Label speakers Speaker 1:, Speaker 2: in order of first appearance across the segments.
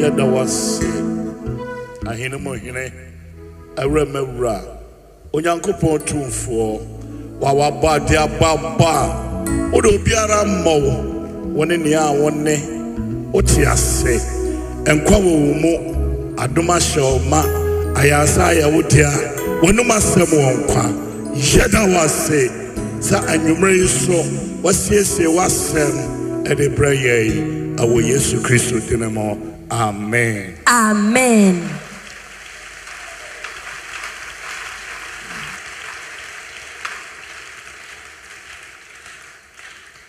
Speaker 1: yɛda wase ahene mu hene awura mu awura onyankopɔn tumfoɔ wawaba ade ababa a wode obiara mmɔ wo wo ne nea a wo ne wote ase nkwa wɔ wo mu adom ahyɛ wo ma ayaresa a yɛwo dea w'anom asɛm wɔ nkwa yɛda wo ase sɛ anwummerɛ yi so wasiesie w'asɛm ɛde brɛ yɛn yi ɛwɔ yesu kristo din mu amen
Speaker 2: Amen.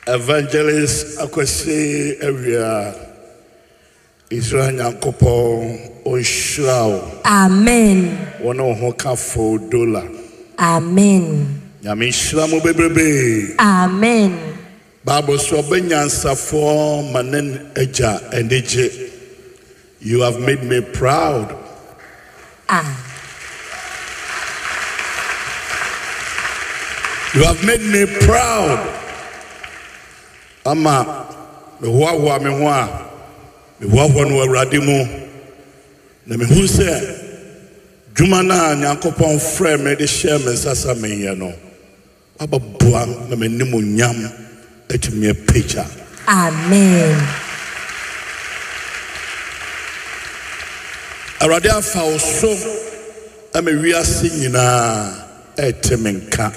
Speaker 1: evangelist akwasi awia israel nyankopɔn ɔnhyira wo
Speaker 2: Amen.
Speaker 1: wɔne wo ho kafo dola
Speaker 2: Amen.
Speaker 1: nyame nhyira mo bebrebe
Speaker 2: Amen.
Speaker 1: bible so ɔbɛnyansafoɔ ma ne agya ani gye you have made me proud
Speaker 2: Ah.
Speaker 1: you have made me proud ama mehoahoa me ho a mehoahoa no wɔ awurade mu na mehu sɛ dwuma no a nyankopɔn frɛ me de hyɛɛ me nsa sa menyɛ no wabɛboa na m'anim onyam atumi apagya
Speaker 2: Amen.
Speaker 1: awurade afa wo so ama wiase nyinaa ɛte me nka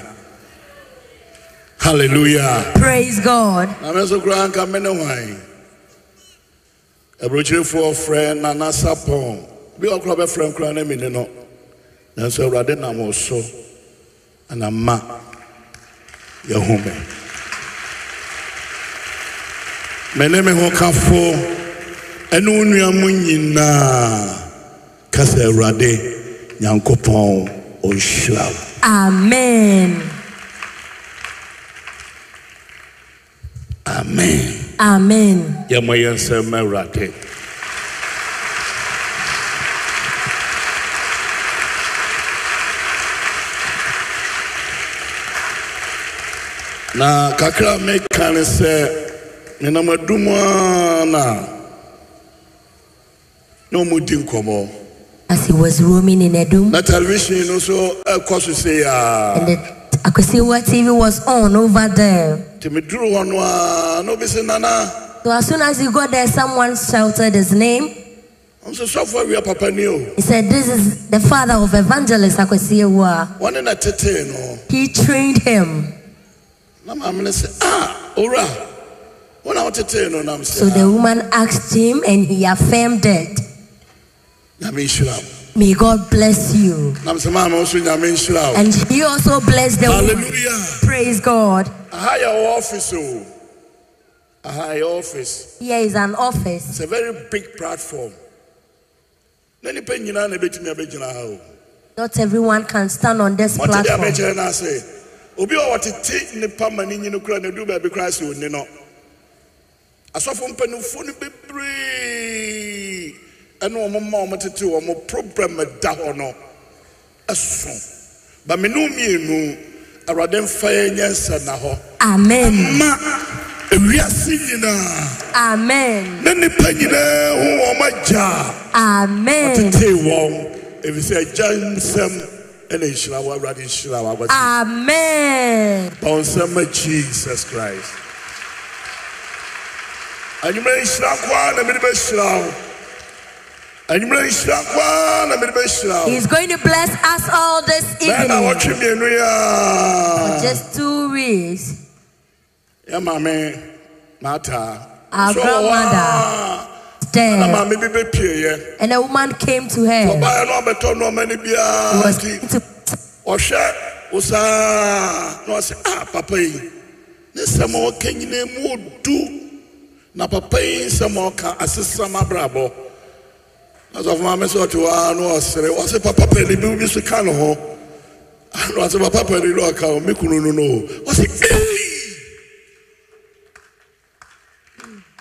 Speaker 1: halleluya
Speaker 2: Praise God.
Speaker 1: na me nso koraa nka me ne hwan aburokyerefoɔ frɛ nana sapɔn bi ɔkora bɛfrɛ nkora ne mene no nanso awurade nam wo so ana ma yɛhome me ne me ho kafo ɛne wo nnua mu nyinaa ka sɛ awurade nyankopɔn ɔnhyira wo
Speaker 2: Amen.
Speaker 1: amen
Speaker 2: Amen.
Speaker 1: yɛmmɔ yɛn nsɛm mma awurade na kakra meka ne sɛ menam adum a na na ɔmudi nkɔmmɔ
Speaker 2: As he was roaming in Edom,
Speaker 1: na television no nso ɛkɔ so sei a
Speaker 2: and the Akwesiwa TV was on over there.
Speaker 1: nti meduru hɔ no a na obi se nana
Speaker 2: So as soon as he got there, someone shouted his name.
Speaker 1: ɔnso sɔfo awia papa ni o
Speaker 2: He said, This is the father of evangelist Akwesiwa.
Speaker 1: wɔne na tetee no
Speaker 2: He trained him.
Speaker 1: na maame no sɛ a owura wo na wotetee no nam
Speaker 2: So
Speaker 1: sɛ
Speaker 2: the woman asked him, and he affirmed it.
Speaker 1: nyame nhyira wo
Speaker 2: May God bless you.
Speaker 1: nam sɛ maame wo so nyame nhyira wo
Speaker 2: And he also blessed the woman.
Speaker 1: halleluya
Speaker 2: Praise God.
Speaker 1: aha yɛ wɔ office o aha yɛ office
Speaker 2: Here is an office.
Speaker 1: it's a very big platform na nipa nyinaa na ɛbɛtumi abɛgyina ha o
Speaker 2: Not everyone can stand on this
Speaker 1: ɔte de
Speaker 2: platform.
Speaker 1: abɛkyerɛ no ase obi a wɔtete nnipa ma ne nyini kora na ɛduru baabi koraa sɛ onni no asɔfo mpanimfoɔ no bebree ɛne wɔn ma wɔn tete wɔn problem da hɔ no ɛso ba menu mmienu awurade mfa yɛn nyɛ nsɛnna hɔ
Speaker 2: Amen.
Speaker 1: ma ewiase nyinaa
Speaker 2: Amen.
Speaker 1: ne nipa nyinaa ho wɔn agya
Speaker 2: Amen.
Speaker 1: tete wɔn efisɛ agya nsɛm ɛna nhyira wɔ awurade nhyira wɔ abɔtɔ.
Speaker 2: Amen.
Speaker 1: Ɔnsɛmma Jesus Christ. Anwummerɛ yi nhyira nko ara na mede bɛhyira wo. Anwummerɛ yi nhyira nko ara na mede bɛhyira wo.
Speaker 2: He's going to bless us all this
Speaker 1: Bɛɛ na
Speaker 2: evening.
Speaker 1: wɔtwe mmienu yi
Speaker 2: For
Speaker 1: a.
Speaker 2: just two weeks.
Speaker 1: Yɛ maame Martha.
Speaker 2: Our
Speaker 1: So,
Speaker 2: grandmother.
Speaker 1: Na
Speaker 2: There.
Speaker 1: maame bi bɛpieeɛ.
Speaker 2: And a woman came to her.
Speaker 1: Ɔbaa no ɔbɛtɔ nneɛma no
Speaker 2: He
Speaker 1: biara
Speaker 2: was
Speaker 1: nti
Speaker 2: to,
Speaker 1: ɔhwɛ wo saa na ɔsɛ ah papa yi ne nsɛm a ɔka nyinaa mu ɔdu na papa yi nsɛm a ɔka asesam abrabɔ asɔfo maame sɛ ɔte waa na ɔsere ɔse papa pani bi bi so ka ne ho na ɔse papa pani no ɔka o me kunu no no o ɔse ei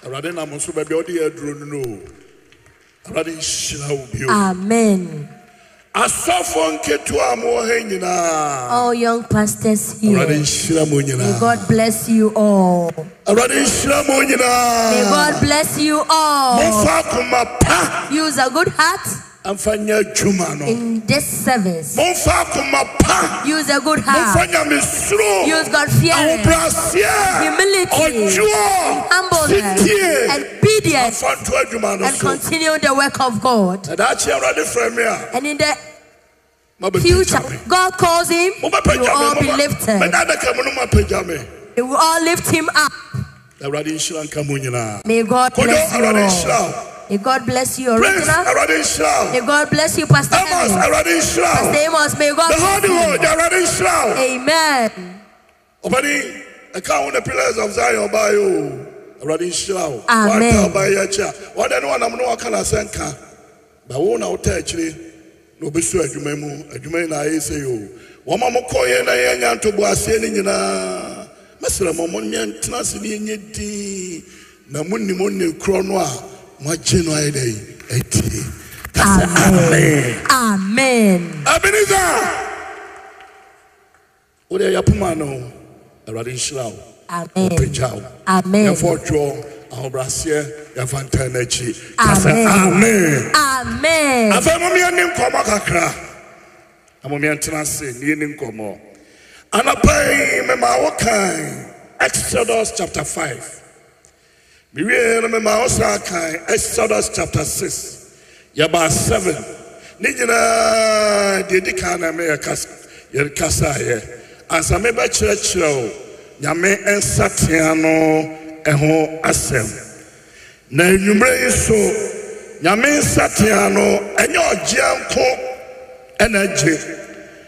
Speaker 1: awurade nam nso
Speaker 2: Ah.
Speaker 1: baabi a ɔde yɛ aduro no no o awurade nhyira wo bio
Speaker 2: Amen.
Speaker 1: asɔfoɔ nketewa a mowɔ ha nyinaa
Speaker 2: all young pastors
Speaker 1: awurade
Speaker 2: here.
Speaker 1: nhyira mo
Speaker 2: May
Speaker 1: nyinaa
Speaker 2: God bless you all.
Speaker 1: awurade nhyira mo
Speaker 2: May
Speaker 1: nyinaa
Speaker 2: God bless you all.
Speaker 1: momfa akoma pa
Speaker 2: Use a good heart
Speaker 1: amfa nyɛ adwuma no
Speaker 2: in this service.
Speaker 1: momfa akoma pa
Speaker 2: Use a good
Speaker 1: momfa
Speaker 2: heart. Use
Speaker 1: nyamesuro
Speaker 2: God fear,
Speaker 1: ahobrɛaseɛ
Speaker 2: Humility.
Speaker 1: ɔdwoɔ
Speaker 2: humbleness,
Speaker 1: sitie
Speaker 2: obedience,
Speaker 1: amfa nto adwuma no
Speaker 2: and
Speaker 1: so
Speaker 2: continue the work of God.
Speaker 1: na daakye awurade frɛ me a
Speaker 2: And in the future,
Speaker 1: mabɛpagya me
Speaker 2: God calls him. You will all
Speaker 1: mobɛpagya
Speaker 2: be
Speaker 1: me
Speaker 2: lifted.
Speaker 1: mɛdadaka mu no mapagya me
Speaker 2: We will all lift him up.
Speaker 1: awurade nhyira nka mo nyinaa
Speaker 2: May God
Speaker 1: kodwo
Speaker 2: bless you
Speaker 1: awurade
Speaker 2: all.
Speaker 1: nhyira wo
Speaker 2: May God bless you,
Speaker 1: prince
Speaker 2: original.
Speaker 1: awurade nhyira wo
Speaker 2: May God bless you, Pastor
Speaker 1: amos
Speaker 2: Amos.
Speaker 1: awurade nhyira wo
Speaker 2: Pastor Amos, may God
Speaker 1: the holy
Speaker 2: bless
Speaker 1: word
Speaker 2: you.
Speaker 1: awurade nhyira wo
Speaker 2: Amen.
Speaker 1: ɔpani ɛka ho ne pillars of zion ɔbaeɛ o awurade nhyira wo
Speaker 2: Amen.
Speaker 1: woaka ɔbaeɛ akyi a ɔdɛ ne wanam ne waka nasɛ nka ba wo na wota akyire na obɛsu adwuma mu adwuma yi na ayɛ sɛ yi o wɔma mokɔyɛ na yɛanya ntobo aseɛ no nyinaa mɛsrɛ mɔ mo nyɛ ntena ase ne yɛnyɛ din na monim ne korɔ no a moagye no ayɛ dɛ atie ka sɛ amen
Speaker 2: Amen.
Speaker 1: abinisa wode yɛpoma no awurade nhyira wo
Speaker 2: Amen.
Speaker 1: pagya wo
Speaker 2: Amen.
Speaker 1: yɛfa ɔdwoɔ ahobraseɛ yɛfa ntan no akyi ka sɛ
Speaker 2: Amen.
Speaker 1: amen
Speaker 2: Amen.
Speaker 1: afei momeɛ ne nkɔmmɔ kakra na momeɛ ntena ase ne yɛni nkɔmmɔ anapa yi mema wo kan exodus chapter 5 mewie no mema wo saa kan exodus chapter 6 yɛbaa 7 ne nyinaa deɛ di kan na yɛkasaeɛ ansa mebɛkyerɛkyerɛ wo nyame nsatea no ɛho asɛm na enyimire yi so nyame nsatea no ɛnyɛ ɔgye nko ɛna agye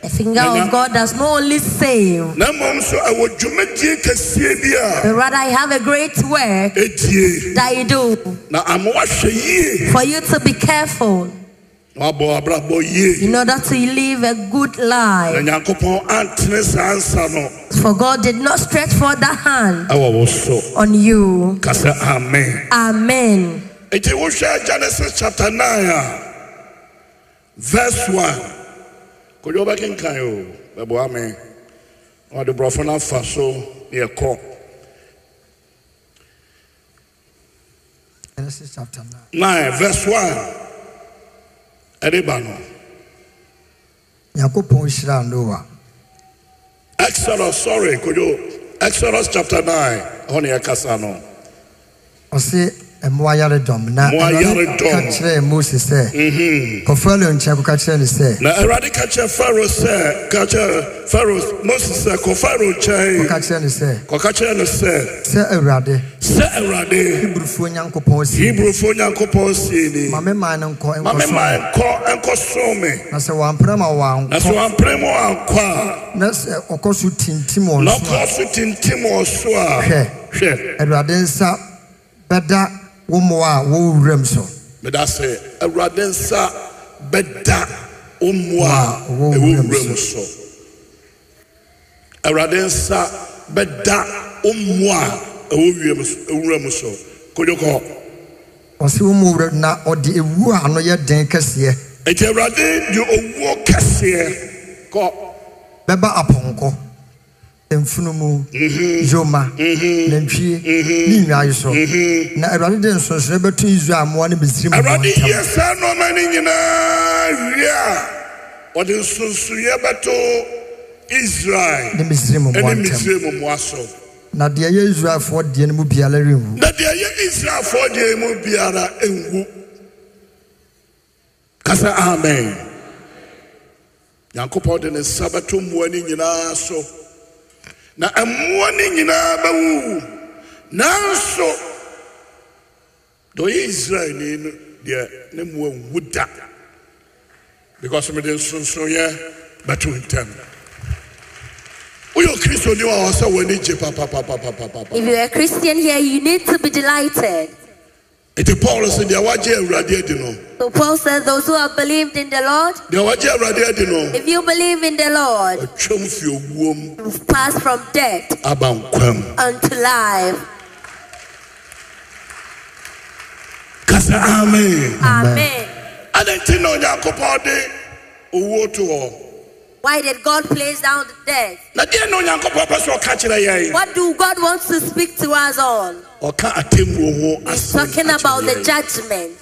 Speaker 2: The finger of God does not only save,
Speaker 1: na mmom nso ɛwɔ dwumadie kɛseɛ bi
Speaker 2: but rather I have a great work
Speaker 1: a ɛdie
Speaker 2: that you do
Speaker 1: na amoa hwɛ yie
Speaker 2: for you to be careful
Speaker 1: na wabɔ abrabɔ yie
Speaker 2: in order to live a good
Speaker 1: na
Speaker 2: life.
Speaker 1: nyankopɔn antene saa nsa no
Speaker 2: For God did not stretch forth the hand
Speaker 1: ɛwɔ wo so
Speaker 2: on you.
Speaker 1: ka sɛ amen
Speaker 2: Amen.
Speaker 1: enti wohwɛ genesis chapter 9 a verse 1 kodwo wobɛkenkan o bɛboa me na wɔde borɔfo no afa so ne yɛkɔ
Speaker 3: Genesis chapter 9.
Speaker 1: 9 verse 1 ɛde ba no
Speaker 3: Nyankopɔn hyiraa Noa
Speaker 1: exodus sorry kodwo exodus chapter 9 ɛhɔ ne yɛkasa no
Speaker 3: ɔse mmoa yaredɔm na
Speaker 1: Mmoa Mhm.
Speaker 3: Awurade
Speaker 1: yaredɔm.
Speaker 3: ka kyerɛɛ mose sɛ kɔ farao nkyɛn kɔka kyerɛ no sɛ
Speaker 1: na awurade ka kyerɛ pharaoh sɛ ka kyerɛ pharaoh moses sɛ kɔ pharaoh nkyɛn
Speaker 3: kɔka kyerɛ no sɛ
Speaker 1: kɔka kyerɛ no sɛ
Speaker 3: sɛ awurade
Speaker 1: sɛ awurade
Speaker 3: hebrifoɔ nyankopɔn sie
Speaker 1: hebrefoɔ nyankopɔn sei ni
Speaker 3: ma me man no nkɔ
Speaker 1: ma me
Speaker 3: nkɔsom
Speaker 1: ma
Speaker 3: me.
Speaker 1: nkɔ nkɔsom me
Speaker 3: na sɛ wampere ma
Speaker 1: na sɛ
Speaker 3: wankɔ
Speaker 1: wampere mu ankɔ a
Speaker 3: na sɛ ɔkɔ so tintim wɔn
Speaker 1: na
Speaker 3: so a
Speaker 1: ɔkɔɔ so tintim wɔ so a
Speaker 3: Hwɛ.
Speaker 1: hwɛ
Speaker 3: awurade nsa bɛda wo mmoa a wɔwɔ wuram so
Speaker 1: meda sɛ awurade nsa bɛda wo mmoa a
Speaker 3: Wɔ- wɔ
Speaker 1: ɛwɔ
Speaker 3: wuram
Speaker 1: wuram so awurade nsa bɛda wo mmoa a ɛwɔ wiem so- wuram so kodwokɔ
Speaker 3: ɔse wo mmoa wuram na ɔde ewuo a ano yɛ den kɛseɛ
Speaker 1: ɛti awurade de owuo kɛseɛ kɔ
Speaker 3: bɛba apɔnkɔ mfunumu
Speaker 1: Mhm.
Speaker 3: yoma nantwie ne nnwae so na awurade de nsonsorɛ bɛto israel mmoa ne misiri mu
Speaker 1: Mhm. awurade
Speaker 3: ntam
Speaker 1: yɛ saa nneɛma no nyinaa wie a ɔde nsonsoyɛ bɛto israel
Speaker 3: ne misiri mu mmoa
Speaker 1: ɛne
Speaker 3: ntam
Speaker 1: misraim mmoa so
Speaker 3: na deɛ ɛyɛ israelfoɔ deɛ no mu biara renwu
Speaker 1: na deɛ ɛyɛ israelfoɔ deɛ mu biara nwu kasa amen nyankopɔn de ne nsa bɛto mmoa no nyinaa so na mmoa no nyinaa bɛwuwu nanso deɛ ɔyɛ israelni no deɛ ne mmoa nwu da because mede nsonsonoeɛ bɛto ntam woyɛ kristoni a ɔwɔ sɛ w'ani gye papapapapapa
Speaker 2: If you're a Christian here, you need to be delighted.
Speaker 1: Eti Paul sɛ deɛ wagye awurade adi no
Speaker 2: So Paul says, Those who have believed in the Lord,
Speaker 1: deɛ wagye awurade adi no
Speaker 2: if you believe in the Lord,
Speaker 1: ɔtwam fi owuom
Speaker 2: you've passed from death
Speaker 1: aba nkwam
Speaker 2: unto life.
Speaker 1: ka sɛ amen
Speaker 2: Amen.
Speaker 1: adɛn nti na onyankopɔn de owuo to hɔ
Speaker 2: Why did God place down the dead?
Speaker 1: na deɛ na onyankopɔn pɛ sɛ ɔka kyerɛ yɛn
Speaker 2: What do God want to speak to us all?
Speaker 1: ɔka atemmuo ho
Speaker 2: He's
Speaker 1: asɛm
Speaker 2: talking
Speaker 1: akyerɛ
Speaker 2: about the
Speaker 1: yɛn.
Speaker 2: judgment.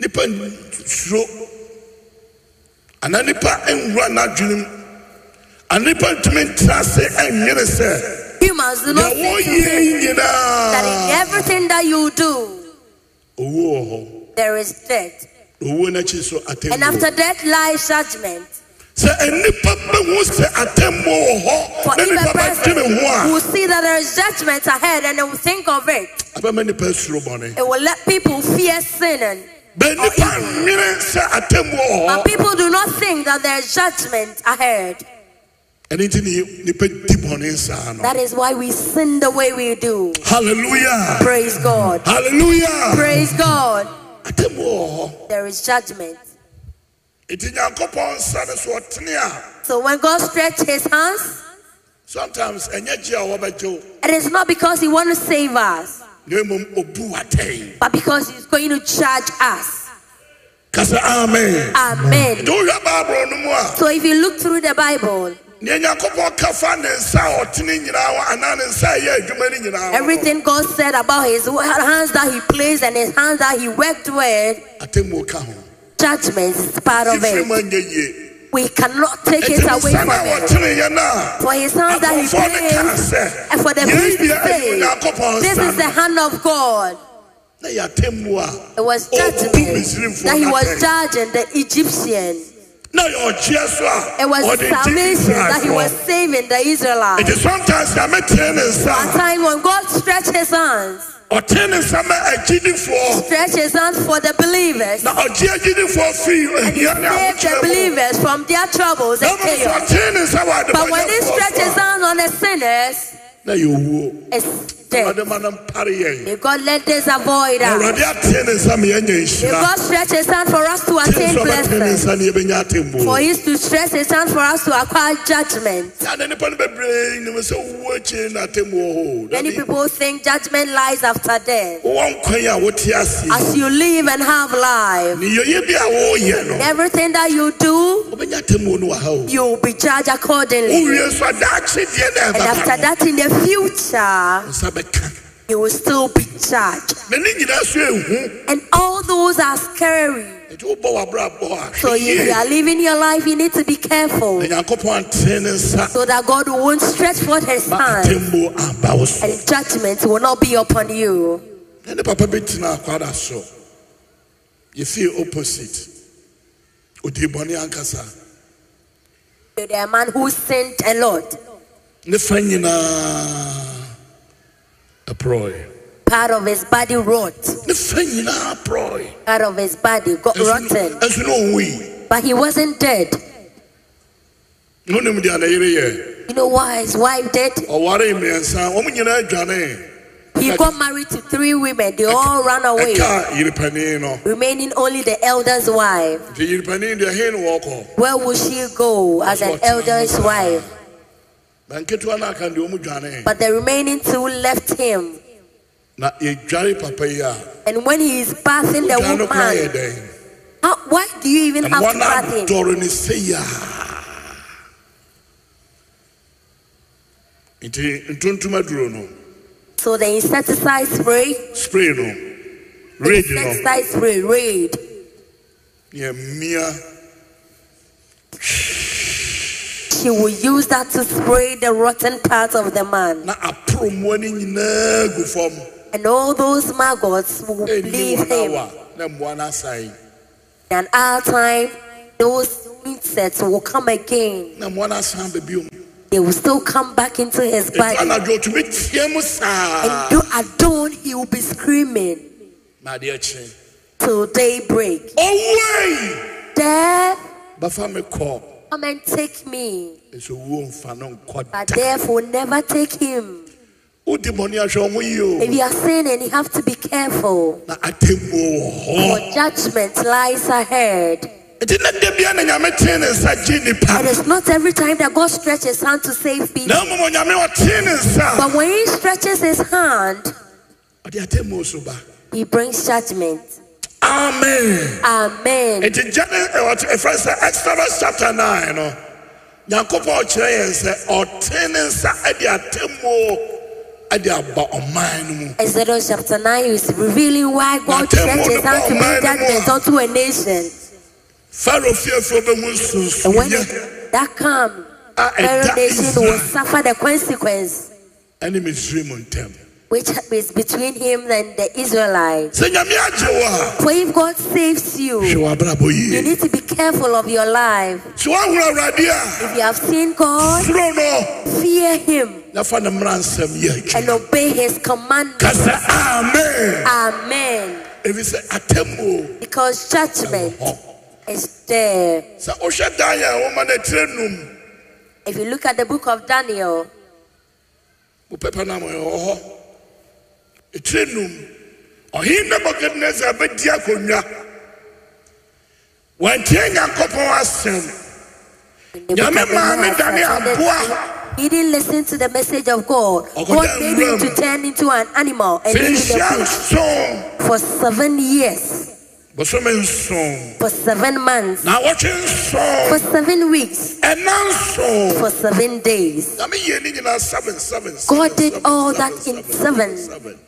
Speaker 1: nipa n- suro ana nipa nwura n'adwenem ana nipa ntumi ntena ase ɛnwene sɛ
Speaker 2: Humans do
Speaker 1: na
Speaker 2: not think to
Speaker 1: wɔyɛ
Speaker 2: think that in
Speaker 1: nyinaa
Speaker 2: everything that you do,
Speaker 1: owuo wɔ hɔ
Speaker 2: there is death.
Speaker 1: owuo n'akyi nso
Speaker 2: And
Speaker 1: atemmuo
Speaker 2: after death lies judgment.
Speaker 1: sɛ nipa bɛ ho sɛ atemmuo wɔ
Speaker 2: For
Speaker 1: hɔ na
Speaker 2: if a
Speaker 1: nipa bɛ
Speaker 2: person
Speaker 1: dwene ho
Speaker 2: will see that there is judgment ahead and they will think of it,
Speaker 1: a abɛma nipa suro bɔne
Speaker 2: it will let people fear sinning.
Speaker 1: bɛ nipa nwene sɛ atemmuo wɔ hɔ
Speaker 2: But people do not think that there is judgment ahead.
Speaker 1: ɛne nti ne nipa di bɔne saa no
Speaker 2: That is why we sin the way we do.
Speaker 1: hallelujah
Speaker 2: Praise God.
Speaker 1: hallelujah
Speaker 2: Praise God.
Speaker 1: atemmuo wɔ hɔ
Speaker 2: There is judgment.
Speaker 1: nti nyankopɔn nsa ne so ɔtene a
Speaker 2: So when God stretched his hands,
Speaker 1: sometimes ɛnyɛ gye a wɔbɛgye wo
Speaker 2: it is not because he wants to save us,
Speaker 1: na mmom ɔbu watɛn
Speaker 2: but because he's going to judge us.
Speaker 1: ka sɛ amen
Speaker 2: Amen.
Speaker 1: nti wohwɛ bible no mu a
Speaker 2: So if you look through the Bible,
Speaker 1: neɛ nyankopɔn ka fa ne nsa a ɔtene nyinaa wɔ anaa ne nsa a ɛyɛ adwuma no nyinaa wɔ no,
Speaker 2: everything God said about his hands that he placed and his hands that he worked with,
Speaker 1: atemmuo ka ho
Speaker 2: judgment is part of
Speaker 1: Ɛfiri mu
Speaker 2: it.
Speaker 1: anyɛ yie
Speaker 2: We cannot take
Speaker 1: ɛti
Speaker 2: it away
Speaker 1: nsa
Speaker 2: from
Speaker 1: no a
Speaker 2: it.
Speaker 1: wɔtene yɛ no a
Speaker 2: For his hands that he
Speaker 1: abɔfoɔ no kaa
Speaker 2: placed,
Speaker 1: sɛ
Speaker 2: and for the
Speaker 1: yɛn
Speaker 2: priest to
Speaker 1: bia ɛyɛ
Speaker 2: say,
Speaker 1: onyankopɔn
Speaker 2: This is the
Speaker 1: nsa
Speaker 2: hand of God.
Speaker 1: na yɛ atemmuo a
Speaker 2: It was
Speaker 1: Oh,
Speaker 2: judgment
Speaker 1: Misraimfoɔ
Speaker 2: that he was
Speaker 1: n'atɛn.
Speaker 2: judging the Egyptian.
Speaker 1: na yɛ ɔkyeɛ so a
Speaker 2: It was
Speaker 1: ɔde gye
Speaker 2: salvation that he was
Speaker 1: Israelfoɔ.
Speaker 2: saving the Israelites.
Speaker 1: Nti sometimes na metene ne
Speaker 2: At
Speaker 1: nsa a,
Speaker 2: time when God stretched his hands,
Speaker 1: ɔtene ne nsa ma agyidifoɔ
Speaker 2: stretched his hands for the believers,
Speaker 1: na ɔgye agyinifoɔ firi ahia ne
Speaker 2: saved the
Speaker 1: ahokyerɛ mu
Speaker 2: believers from their troubles
Speaker 1: na
Speaker 2: and
Speaker 1: mmɔfra
Speaker 2: chaos.
Speaker 1: tee ne nsa wɔ
Speaker 2: But when he stretches his
Speaker 1: adebɔnyɛfoɔ
Speaker 2: hands on the sinners,
Speaker 1: na yɛwuo
Speaker 2: it's death.
Speaker 1: awurade ma no mpare yɛn
Speaker 2: May God let this avoid
Speaker 1: Na
Speaker 2: us.
Speaker 1: awurade atee ne nsa ma yɛanya
Speaker 2: May
Speaker 1: nhyira
Speaker 2: God stretch his hand for us to
Speaker 1: tee
Speaker 2: attain
Speaker 1: nso ɔbɛtee ne
Speaker 2: blessing.
Speaker 1: nsa ne yɛbɛnya
Speaker 2: For
Speaker 1: atemmuo
Speaker 2: he to stretch his hand for us to acquire judgment.
Speaker 1: na ne nnipa no bebree nim sɛ wowuo akyiri na atemmuo hɔ
Speaker 2: Many people think judgment lies after death.
Speaker 1: wowɔ nkwan a wote ase yi,
Speaker 2: As you live and have life,
Speaker 1: ne yɛyɛ bi a woyɛ no
Speaker 2: everything that you do,
Speaker 1: wobɛnya atemmuo no wɔ ha o
Speaker 2: you will be judged accordingly.
Speaker 1: wowie so a daakyedeɛ na
Speaker 2: And after
Speaker 1: ɛbɛba no
Speaker 2: that, in the future,
Speaker 1: nsa bɛka
Speaker 2: you will still be judged.
Speaker 1: na ne nyinaa so ɛhu
Speaker 2: And all those are scary.
Speaker 1: ɛnti wobɔ w'abrabɔ a
Speaker 2: So if
Speaker 1: hwɛ
Speaker 2: you
Speaker 1: yie.
Speaker 2: are living your life, you need to be careful
Speaker 1: na nyankopɔn antene ne nsa
Speaker 2: so that God won't stretch forth his
Speaker 1: ma
Speaker 2: hand
Speaker 1: atemmuo aba wo so
Speaker 2: and judgment will not be upon you.
Speaker 1: na ne papa bi tena akwada so yɛfie opposite ɔdii bɔne ankasa
Speaker 2: So there are man who sinned a lot.
Speaker 1: ne fa nyinaa ɛporɔe
Speaker 2: Part of his body rot,
Speaker 1: ne fa nyinaa porɔe
Speaker 2: part of his body got rotten.
Speaker 1: ɛso ne ɔwui
Speaker 2: But he wasn't dead.
Speaker 1: ne wonim deɛ ne yere yɛ
Speaker 2: You know why his wife did?
Speaker 1: ɔware mmiɛnsa wɔm nyinaa adwane
Speaker 2: He got married to three women. They all ran away,
Speaker 1: ɛkaa yerepanin no
Speaker 2: remaining only the elder's wife.
Speaker 1: nti yerepanin deɛ he ne wɔkɔ
Speaker 2: Where would she go as an elder's wife?
Speaker 1: na nketewa no aka deɛ ɔmu dwane
Speaker 2: But the remaining two left him.
Speaker 1: na yɛdware papa yi a
Speaker 2: And when he is bathing the
Speaker 1: dwane no koraa yɛ
Speaker 2: woman,
Speaker 1: dɛn
Speaker 2: how, why do you even have to
Speaker 1: Mwana
Speaker 2: bath him?
Speaker 1: dɔre ne se yaa. Nti ntontom aduro no,
Speaker 2: So the insecticide spray,
Speaker 1: spray no,
Speaker 2: the
Speaker 1: rage no,
Speaker 2: insecticide spray, raid.
Speaker 1: yɛ mmea
Speaker 2: She will use that to spray the rotten parts of the man.
Speaker 1: na aporo mmoa no nyinaa gu fam.
Speaker 2: And all those maggots will
Speaker 1: Ɛnni
Speaker 2: leave
Speaker 1: wɔn
Speaker 2: him.
Speaker 1: awa na mmoa no asae.
Speaker 2: And our time, those insects will come again.
Speaker 1: Na mmoa no asan baabi mu.
Speaker 2: They will still come back into his
Speaker 1: Ɛtu
Speaker 2: body.
Speaker 1: anadwo otumi tie mu saa.
Speaker 2: And do at dawn, he will be screaming
Speaker 1: Na adeɛ kye.
Speaker 2: till daybreak.
Speaker 1: Owei!
Speaker 2: There,
Speaker 1: Bɛfa me kɔ.
Speaker 2: come and take me.
Speaker 1: Nso wuo mfa no nkɔ
Speaker 2: But
Speaker 1: da.
Speaker 2: therefore, never take him.
Speaker 1: Wodi bɔne ahwɛ ɔmo yie
Speaker 2: If
Speaker 1: o.
Speaker 2: you are sinning, you have to be careful.
Speaker 1: Na atemmuo wɔ
Speaker 2: For
Speaker 1: hɔ.
Speaker 2: judgment lies ahead.
Speaker 1: nti na da bia na nyame tee ne nsa gye
Speaker 2: It
Speaker 1: nnipa
Speaker 2: is not every time that God stretches hand to save people.
Speaker 1: na mmom nyame ɔtee ne nsa
Speaker 2: But when he stretches his hand,
Speaker 1: ɔde atemmuo so ba
Speaker 2: he brings judgment.
Speaker 1: amen
Speaker 2: Amen.
Speaker 1: nti gyane ɛfrɛ sɛ exodus chapter 9 no nyankopɔn ɔkyerɛ yɛn sɛ ɔte ne nsa ade atemmuo ade aba ɔman no mu
Speaker 2: Exodus chapter 9 is revealing why God
Speaker 1: Natemo
Speaker 2: stretches out to
Speaker 1: nipa
Speaker 2: bring
Speaker 1: ɔman no mu
Speaker 2: judgment
Speaker 1: a-
Speaker 2: unto a nation.
Speaker 1: farao fiefoɔ bɛhu
Speaker 2: And when
Speaker 1: nsonsoyɛ
Speaker 2: that come,
Speaker 1: a
Speaker 2: Pharaoh
Speaker 1: ɛda
Speaker 2: nation will
Speaker 1: israel
Speaker 2: suffer the consequence,
Speaker 1: ɛne misraim ntam
Speaker 2: which is between him and the Israelites.
Speaker 1: sɛ nyame agye wo
Speaker 2: For if God saves
Speaker 1: a hwɛ
Speaker 2: you,
Speaker 1: wɔ abrabɔ
Speaker 2: you
Speaker 1: yie
Speaker 2: need to be careful of your life.
Speaker 1: sɛ woahoro awurade
Speaker 2: If you have seen
Speaker 1: a
Speaker 2: God,
Speaker 1: suro no
Speaker 2: fear Him
Speaker 1: na fa ne mmara nsɛm yɛ adwuma
Speaker 2: and obey His commandments.
Speaker 1: ka sɛ amen
Speaker 2: Amen.
Speaker 1: ɛfiri sɛ atemmuo
Speaker 2: Because judgment
Speaker 1: hɔ
Speaker 2: is there.
Speaker 1: sɛ wohwɛ dan a woma no atire num
Speaker 2: If you look at the book of Daniel,
Speaker 1: mo pɛpɛ no amoyɛ wɔ hɔ ɛtire num ɔhene nebukadnesar bɛdi akonnwa wantie nyankopɔn asɛm nyame maa me dane aboa
Speaker 2: he didn't listen to the message of God.
Speaker 1: Ọkọ
Speaker 2: God
Speaker 1: jẹ́
Speaker 2: made him to
Speaker 1: ewúrẹ́ mu.
Speaker 2: turn into an animal and live in
Speaker 1: finhyia
Speaker 2: the fish
Speaker 1: nson
Speaker 2: for seven years,
Speaker 1: bosome nson
Speaker 2: for seven months,
Speaker 1: na wɔtwe
Speaker 2: for
Speaker 1: nson
Speaker 2: seven weeks,
Speaker 1: ɛna nson
Speaker 2: for seven days.
Speaker 1: nyame yɛ ne nyinaa seven seven
Speaker 2: God did all that in seven.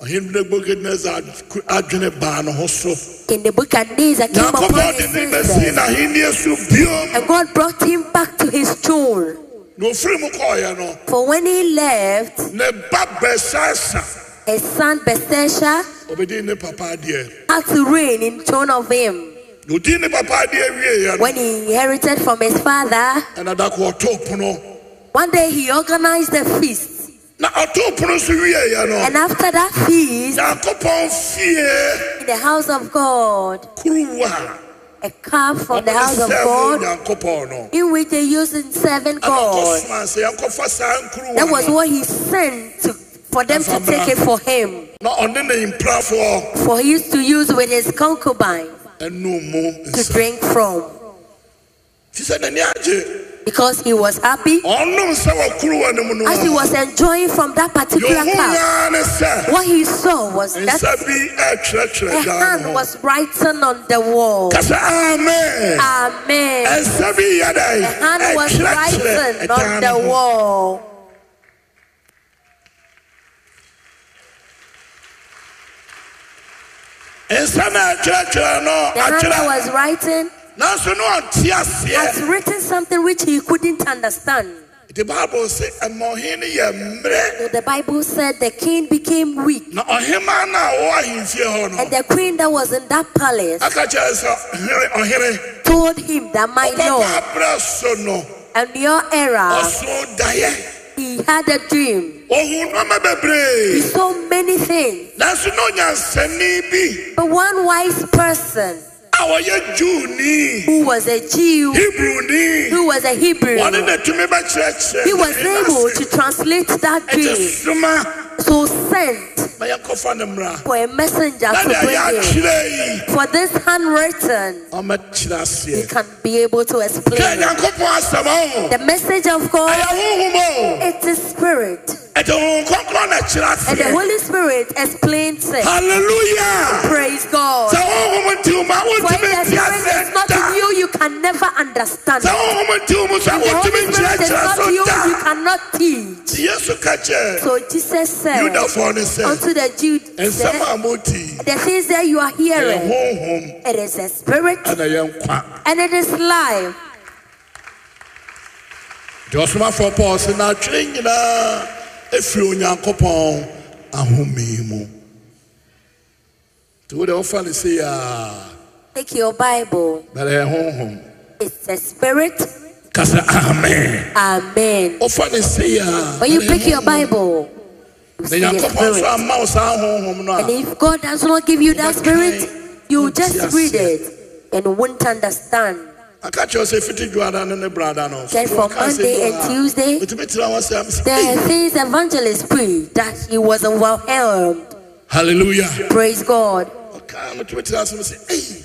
Speaker 1: ɔhene nebukadnesar adwene baa ne ho so
Speaker 2: In the book of Days, I came upon
Speaker 1: nyankopɔn de
Speaker 2: his
Speaker 1: ne bɛsii
Speaker 2: senses,
Speaker 1: n'ahenneɛ so biom
Speaker 2: and God brought him back to his throne.
Speaker 1: na ofiri mu kɔɔyɛ no
Speaker 2: For when he left,
Speaker 1: ne ba bɛsasa
Speaker 2: his son Bethesda
Speaker 1: ɔbɛdi ne papa adeɛ
Speaker 2: had to reign in throne of him.
Speaker 1: na odi ne papa adeɛ wieɛ no
Speaker 2: When he inherited from his father,
Speaker 1: ɛna da ko ɔtoo pono
Speaker 2: one day he organized a feast.
Speaker 1: na ɔtoo pono so wieɛ no
Speaker 2: And after that feast,
Speaker 1: nyankopɔn fie
Speaker 2: in the house of God,
Speaker 1: kuruwa
Speaker 2: a cup from the house of
Speaker 1: ɔbɛsɛmo
Speaker 2: God,
Speaker 1: nyankopɔn no
Speaker 2: in which they used in serving
Speaker 1: ɛna
Speaker 2: God.
Speaker 1: ɔkɔsoma sɛ yɛnkɔfa saa nkuruwa
Speaker 2: That was
Speaker 1: no
Speaker 2: what he sent to, for them to take it for him.
Speaker 1: na ɔne ne mprafoɔ
Speaker 2: For he used to use with his concubine
Speaker 1: ɛnom mu
Speaker 2: to
Speaker 1: nsa
Speaker 2: drink from.
Speaker 1: fi sɛ n'ani agye
Speaker 2: Because he was happy
Speaker 1: ɔnom nsa wɔ kuruwa no mu no
Speaker 2: as he was enjoying from that particular
Speaker 1: yɛhu
Speaker 2: cup.
Speaker 1: aa ne sɛ
Speaker 2: What he saw was that
Speaker 1: nsa bi
Speaker 2: a
Speaker 1: ɛtwerɛtwerɛ dan
Speaker 2: hand
Speaker 1: no ho
Speaker 2: was writing on the wall.
Speaker 1: kasa amen.
Speaker 2: Amen.
Speaker 1: ɛsɛ bi yɛ dɛ
Speaker 2: A hand was writing on the wall.
Speaker 1: ɛsɛ na ɛkyerɛkyerɛ no
Speaker 2: The hand that
Speaker 1: akyerɛ
Speaker 2: was writing
Speaker 1: nanso ne ɔnte
Speaker 2: has
Speaker 1: aseɛ
Speaker 2: written something which he couldn't understand.
Speaker 1: nti bible se ɛma ɔhen no yɛ mmerɛ
Speaker 2: So the Bible said the king became weak,
Speaker 1: na ɔhema no a ɔwɔ ahemfie hɔ
Speaker 2: and
Speaker 1: no
Speaker 2: the queen that was in that palace
Speaker 1: aka kyerɛ sɛ ɔhere ɔhere
Speaker 2: told him that my lord,
Speaker 1: ɔbɛba berɛ so no
Speaker 2: and your era,
Speaker 1: ɔso daeɛ
Speaker 2: he had a dream.
Speaker 1: ɔhu nnoɔma
Speaker 2: He
Speaker 1: bebree
Speaker 2: saw many things,
Speaker 1: nanso ne ɔnyansani bi
Speaker 2: but one wise person
Speaker 1: a ɔyɛ juni
Speaker 2: who was a Jew,
Speaker 1: hebrewni
Speaker 2: who was a Hebrew,
Speaker 1: ɔne ne tumi bɛkyerɛkyerɛ
Speaker 2: he was
Speaker 1: ne
Speaker 2: able
Speaker 1: ase.
Speaker 2: to translate that
Speaker 1: ɛte
Speaker 2: dream.
Speaker 1: soma
Speaker 2: So sent
Speaker 1: ma yɛnkɔfa ne mmara
Speaker 2: for a messenger
Speaker 1: na
Speaker 2: to
Speaker 1: deɛ
Speaker 2: bring him.
Speaker 1: yɛakyerɛ yi
Speaker 2: For this handwritten,
Speaker 1: ɔmɛkyerɛ
Speaker 2: he
Speaker 1: aseɛ
Speaker 2: can be able to
Speaker 1: kɛ
Speaker 2: explain. it.
Speaker 1: nyankopɔn asɛm o
Speaker 2: The message of
Speaker 1: ɛyɛ
Speaker 2: God,
Speaker 1: honhom o
Speaker 2: it is spirit.
Speaker 1: ɛte honhom kɔnkrɔ na kyerɛ
Speaker 2: And the
Speaker 1: aseɛ
Speaker 2: Holy Spirit explains it.
Speaker 1: halleluya
Speaker 2: Praise God.
Speaker 1: sɛ honhom nti wo ma
Speaker 2: For if
Speaker 1: wontumi
Speaker 2: the
Speaker 1: nte
Speaker 2: Spirit is
Speaker 1: aseɛ
Speaker 2: not
Speaker 1: da
Speaker 2: in you, you can never understand.
Speaker 1: sɛ
Speaker 2: If
Speaker 1: honhom nti wo mu so a
Speaker 2: the Holy
Speaker 1: wontumi
Speaker 2: Spirit is
Speaker 1: nkyerɛkyerɛ
Speaker 2: not
Speaker 1: so
Speaker 2: in you, you
Speaker 1: da
Speaker 2: cannot teach.
Speaker 1: nti yesu ka kyerɛ
Speaker 2: So Jesus said
Speaker 1: yudafoɔ no sɛ
Speaker 2: unto the Jews,
Speaker 1: ɛnsɛm
Speaker 2: "The
Speaker 1: a moti
Speaker 2: things that you are
Speaker 1: ɛyɛ
Speaker 2: hearing,
Speaker 1: honhom
Speaker 2: it is a spirit
Speaker 1: ana yɛ nkwa
Speaker 2: and it is life."
Speaker 1: nti ɔsomafoɔ paul se na atwerɛ nyinaa ɛfiri onyankopɔn ahome mu nti wode wofa no sei a
Speaker 2: Take your Bible.
Speaker 1: bɛrɛ yɛ honhom
Speaker 2: It's a spirit.
Speaker 1: ka sɛ amen
Speaker 2: Amen.
Speaker 1: wofa no sei a
Speaker 2: When you
Speaker 1: bɛrɛ yɛ
Speaker 2: pick your
Speaker 1: honhom.
Speaker 2: Bible, you
Speaker 1: na
Speaker 2: see a
Speaker 1: nyankopɔn so
Speaker 2: spirit.
Speaker 1: ama wo saa honhom no
Speaker 2: And
Speaker 1: a
Speaker 2: if God does not give you that spirit, you
Speaker 1: Won't
Speaker 2: just
Speaker 1: see
Speaker 2: read
Speaker 1: us yet.
Speaker 2: it and won't understand.
Speaker 1: aka kyerɛ wo sɛ fiti dwoada no ne brada no
Speaker 2: Then for Monday and Tuesday,
Speaker 1: metumi tena wɔ sɛ
Speaker 2: The
Speaker 1: mesɛ
Speaker 2: things evangelist prayed that he was overwhelmed.
Speaker 1: halleluya
Speaker 2: Praise God.
Speaker 1: ɔkaa metumi tena so mesɛ ei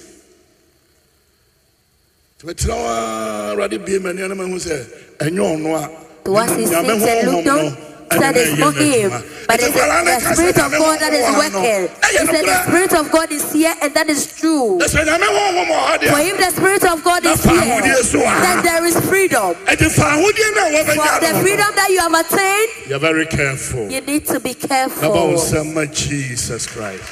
Speaker 1: tumi tena wɔ eh, a awurade bie m'ani a na mahu sɛ ɛnyɛ ɔno a
Speaker 2: To us he
Speaker 1: Nyame
Speaker 2: sings and
Speaker 1: honhom
Speaker 2: looked
Speaker 1: no
Speaker 2: on. that is for him, but it's the Spirit of God that is working. He said the Spirit of God is here, and that is true.
Speaker 1: ɛsɛ nyame wɔwɔ mɔ ha
Speaker 2: For
Speaker 1: deɛ
Speaker 2: if the Spirit of God is here, then there is freedom.
Speaker 1: ɛde fa ahodeɛ no a
Speaker 2: For the
Speaker 1: wɔbɛnya no
Speaker 2: freedom that you have attained,
Speaker 1: yɛ very careful
Speaker 2: you need to be
Speaker 1: na ba wo
Speaker 2: careful.
Speaker 1: nsɛm ma jesus christ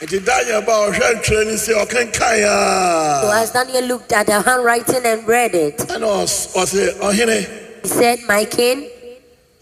Speaker 1: nti daniel ba ɔhwɛ ntwerɛ no sɛ ɔkenkae
Speaker 2: So
Speaker 1: a
Speaker 2: as Daniel looked at the handwriting and read it,
Speaker 1: ɛna ɔs- ɔse ɔhene
Speaker 2: he said, My king,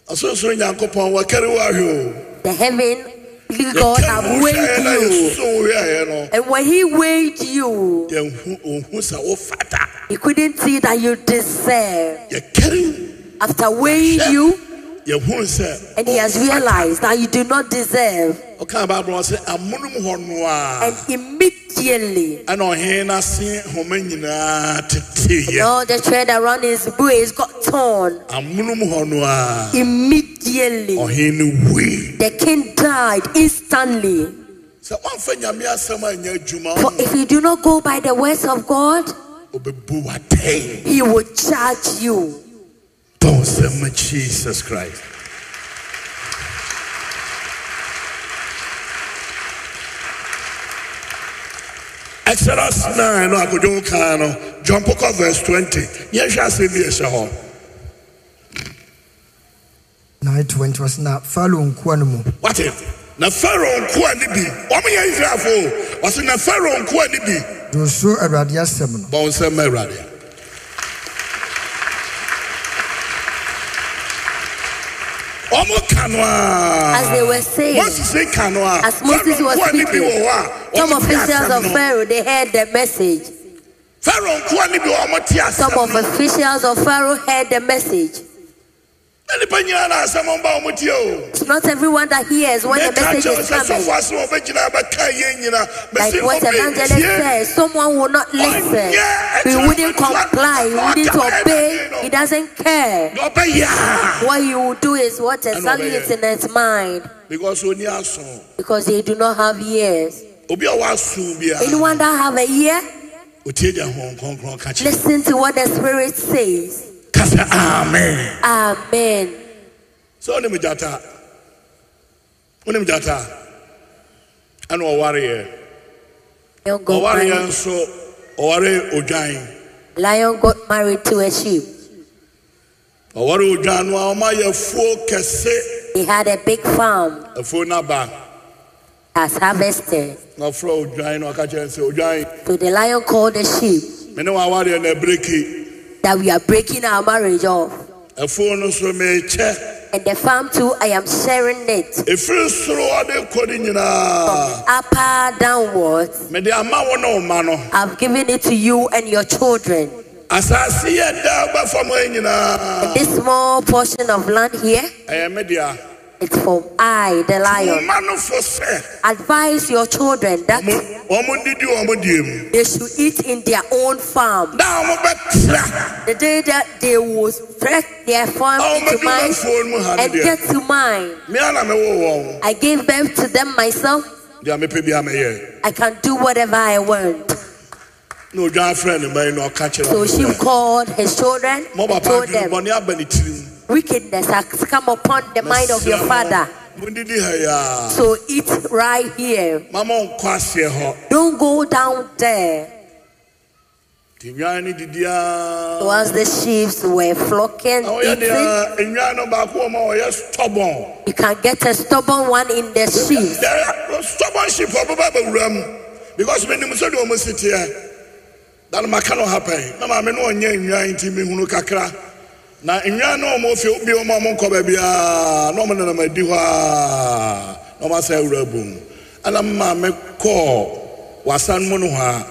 Speaker 1: ɔsorosoro nyankopɔn wɔkɛre wo ahwɛ
Speaker 2: the heaven,
Speaker 1: o
Speaker 2: God
Speaker 1: Yɛkɛre
Speaker 2: have
Speaker 1: wo hwɛeɛ
Speaker 2: weighed
Speaker 1: na
Speaker 2: you.
Speaker 1: yɛsuso wo hwɛeɛ no
Speaker 2: And when he weighed you,
Speaker 1: yɛnhu ɔnhu sɛ wofata
Speaker 2: he couldn't see that you deserve.
Speaker 1: yɛkɛre
Speaker 2: After weighing
Speaker 1: Sure.
Speaker 2: you,
Speaker 1: yɛhu sɛ
Speaker 2: and he has realized that you do not deserve.
Speaker 1: ɔka bible hɔ sɛ amonom hɔ no ah." a
Speaker 2: And immediately,
Speaker 1: ɛna ɔhene no ase homa nyinaa teteyɛ
Speaker 2: all the thread around his waist got torn.
Speaker 1: amonom hɔ no a
Speaker 2: Immediately,
Speaker 1: ɔhene no wui
Speaker 2: the king died instantly.
Speaker 1: sɛ woamfa nyame asɛm anyɛ adwuma
Speaker 2: For
Speaker 1: wo,
Speaker 2: if you do not go by the words of God,
Speaker 1: ɔbɛbu watɛn
Speaker 2: he will charge you.
Speaker 1: bɔ nsɛm ma jesus christ Exodus 9 no akodwo kaa no john pokɔ verse 20 yɛhwɛ asɛm bi a ɛhyɛ hɔ
Speaker 3: nine twenty wɔsi na falo nkuwa no mu
Speaker 1: wate na pharaoh nkoa ne bi ɔmoyɛ israelfoɔ ɔse na pharaoh nkoa ne bi
Speaker 3: doso awurade asɛm no
Speaker 1: bɔ wo nsɛm ma awurade ɔmo ka no a
Speaker 2: As they were saying,
Speaker 1: moses ka no a
Speaker 2: as Moses was
Speaker 1: Pharaoh nkoa ne bi wɔ
Speaker 2: speaking,
Speaker 1: hɔ a
Speaker 2: some
Speaker 1: ɔmo te
Speaker 2: officials
Speaker 1: asɛm
Speaker 2: of
Speaker 1: no
Speaker 2: Pharaoh they heard the message.
Speaker 1: pharaoh nkoa ne bi wɔ ɔmo te
Speaker 2: Some of
Speaker 1: asɛm no
Speaker 2: officials of Pharaoh heard the message.
Speaker 1: na nipa nyinaa na asɛm ɔmba ɔmo tie o
Speaker 2: It's not everyone that hears when the
Speaker 1: meka
Speaker 2: message
Speaker 1: kyerɛ wo
Speaker 2: is
Speaker 1: sɛ
Speaker 2: coming.
Speaker 1: sɔfo ase wɔ bɛgyina bɛka yɛ nyina
Speaker 2: Like
Speaker 1: mesi
Speaker 2: what evangelist
Speaker 1: ɔbɛtie
Speaker 2: says, someone will not listen.
Speaker 1: yeah,
Speaker 2: He
Speaker 1: it's
Speaker 2: wouldn't
Speaker 1: a- it's a-
Speaker 2: comply, he wouldn't
Speaker 1: it's a-
Speaker 2: obey, he doesn't care.
Speaker 1: na ɔbɛyɛ a
Speaker 2: What he will do is what exactly
Speaker 1: obey.
Speaker 2: is in his mind
Speaker 1: because oni aso
Speaker 2: because they do not have ears.
Speaker 1: obi a waso bia
Speaker 2: Anyone that have a ear,
Speaker 1: otie deɛ hon kronkron ka kyerɛ
Speaker 2: listen to what the Spirit says.
Speaker 1: ka sɛ amen
Speaker 2: Amen.
Speaker 1: sɛ wonem gyata wonem gyata a, ɛna ɔwareɛ
Speaker 2: Lion got
Speaker 1: ɔwareɛ
Speaker 2: married.
Speaker 1: nso ɔware odwan
Speaker 2: Lion got married to a sheep.
Speaker 1: ɔware odwan no a ɔma yɛ afuo kɛse
Speaker 2: He had a big farm
Speaker 1: afuo no aba
Speaker 2: as harvested.
Speaker 1: na ɔfrɛ odwan no ɔka kyerɛ no sɛ odwan
Speaker 2: So the lion called the sheep
Speaker 1: me eh, ne wawareɛ na abreki
Speaker 2: that we are breaking our marriage off.
Speaker 1: afuo no so mekyɛ
Speaker 2: And the farm too, I am sharing it.
Speaker 1: ɛfiri soro ɔde kɔ ne nyinaa
Speaker 2: Upper downwards,
Speaker 1: mede ama wo ne wo ma no
Speaker 2: I've given it to you and your children.
Speaker 1: asase yɛ da wobɛfa mu yi nyinaa
Speaker 2: This small portion of land here,
Speaker 1: ɛyɛ me dea
Speaker 2: it's from I, the lion.
Speaker 1: Mma no fo sɛ
Speaker 2: Advise your children that
Speaker 1: ɔmo ɔmo didi ɔmo die mu.
Speaker 2: they should eat in their own farm.
Speaker 1: Da ɔmo bɛtra
Speaker 2: The day that they will stretch their
Speaker 1: a
Speaker 2: farm
Speaker 1: ɔmo
Speaker 2: into
Speaker 1: di
Speaker 2: mine
Speaker 1: bɛfuo no mu ha no
Speaker 2: and
Speaker 1: deɛ.
Speaker 2: get to mine.
Speaker 1: Mea na mewoo wɔn.
Speaker 2: I gave birth to them myself.
Speaker 1: Deɛ mepɛ biara meyɛɛ.
Speaker 2: I can do whatever I want.
Speaker 1: Na odwan frɛɛ ne mma yi na ɔka kyerɛɛ
Speaker 2: So
Speaker 1: wɔn
Speaker 2: she
Speaker 1: sɛ,
Speaker 2: called his children
Speaker 1: "Mo
Speaker 2: and
Speaker 1: papa
Speaker 2: told
Speaker 1: adwene
Speaker 2: them,
Speaker 1: bɔne aba ne tirim.
Speaker 2: Wickedness has come upon the mind of your
Speaker 1: Mesrɛ mo,
Speaker 2: father.
Speaker 1: mondidi ha yi ara.
Speaker 2: So eat right here.
Speaker 1: Mma monkɔ aseɛ hɔ."
Speaker 2: Don't go down there.
Speaker 1: Nti nnwan no didi ara.
Speaker 2: So as the sheep were flocking,
Speaker 1: Na ɔyɛ
Speaker 2: eating,
Speaker 1: deɛ, nnwan no baako wɔ mu a ɔyɛ stubborn.
Speaker 2: you can get a stubborn one in the sheep.
Speaker 1: There are stubborn sheep a ɔbɛba abɛwura mu. Because menim sɛdeɛ ɔmo si teɛ. Da no maka no hapan. Na maame no ɔnyɛ nnwan nti mehunu kakra. Na nnwan no ɔmo fi bi ɔmo a ɔmo nkɔ baabiara na ɔmo nenam adi hɔ a na ɔmo asan awura abom. Ɛna me maame kɔɔ wasan mu no hɔ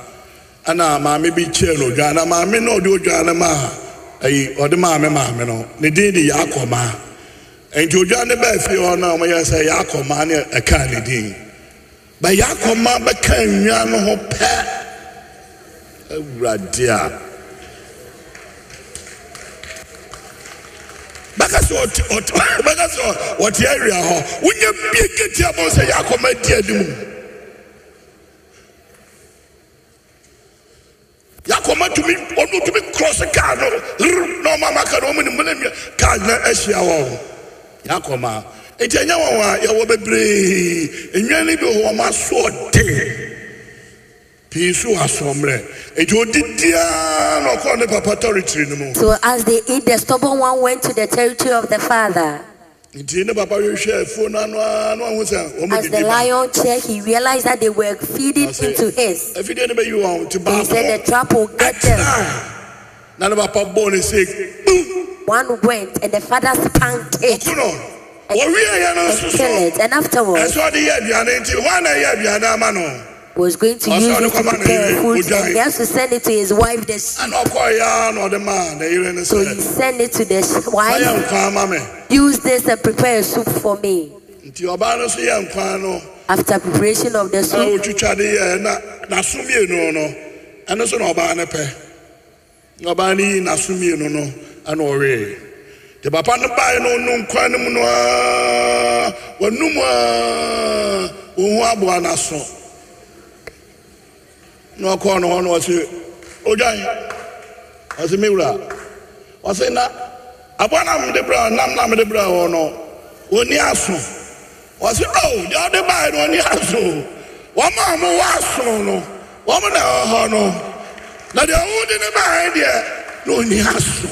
Speaker 1: a ɛna maame bi kyerɛ no odwan na maame no a ɔde odwan no maa ayi ɔde maame maame no ne din de Yakob a. Nti odwan no baa fie hɔ na ɔmo yɛ sɛ Yakob a ne ɛkaa ne din. Ba Yakob a bɛka nnwan no ho pɛɛ awurade a bɛka sɛ ɔte- ɔte- bɛka sɛ ɔ- ɔte awia hɔ wonya bie keti abɔ sɛ yɛakɔma di adi mu yɛakɔma tumi no rrr, na ɔma maka no ɔmu ne mmɔnamia kaa na ahyia wɔ yɛakɔma enti ɛnyɛ wɔn a yɛwɔ bebree nnwa no bi wɔ hɔ ɔma soɔ dee pii so wɔ asɔmmerɛ enti odidiaa na ɔkɔɔ ne papa tɔretiri no mu
Speaker 2: So as they eat, the stubborn one went to the territory of the father.
Speaker 1: nti ne papa hwehwɛ afuo no ano a na ɔho sɛ ɔmu
Speaker 2: As the
Speaker 1: didi ba
Speaker 2: lion checked, he realized that they were feeding
Speaker 1: Ɔse,
Speaker 2: into his.
Speaker 1: afidie no bɛyi wɔn nti
Speaker 2: He said,
Speaker 1: baako
Speaker 2: The trap will get them.
Speaker 1: akyina na ne papa bɔɔ ne sɛ "Bum!"
Speaker 2: One went, and the father spanked it
Speaker 1: ɔku no wɔwieɛ no nso
Speaker 2: and killed
Speaker 1: so
Speaker 2: it. And afterwards,
Speaker 1: ɛsɛ ɔde yɛ aduane nti hɔ na ɛyɛ aduane ama no
Speaker 2: he was going to
Speaker 1: Ɔse,
Speaker 2: use
Speaker 1: ɔde
Speaker 2: it to
Speaker 1: kɔma ne
Speaker 2: prepare
Speaker 1: yere,
Speaker 2: food,
Speaker 1: ɔgyae.
Speaker 2: and he has to send it to his wife. The sh-
Speaker 1: ana ɔkɔɔyɛ a na ɔde maa ne yere ne
Speaker 2: so he
Speaker 1: sɛ
Speaker 2: sent it to the sh-
Speaker 1: mayɛ
Speaker 2: wife.
Speaker 1: nkwa ama me
Speaker 2: Use this and prepare a soup for me.
Speaker 1: nti ɔbaa no so yɛ nkwa no
Speaker 2: After preparation of the
Speaker 1: a
Speaker 2: soup,
Speaker 1: ɔtwitwa de yɛ eh, na n'aso mmienu no ɛno so na ɔbaa no pɛ na ɔbaa no yi n'aso mmienu no ɛna ɔwee te papa no baeɛ no ɔnu nkwa no ah, mu no a wɔnum a ɔhu ah, aboa n'aso na ɔkɔɔ no hɔ no ɔse ogyan ɔse me wura ɔse na aboa na mede brɛ nam na mede brɛ wɔ no ɔni aso ɔse o deɛ ɔde baeɛ no ɔni aso wɔma a mowɔ aso no wɔm na ɛwɔ hɔ no na deɛ ɔwode ne baeɛ deɛ na ɔni aso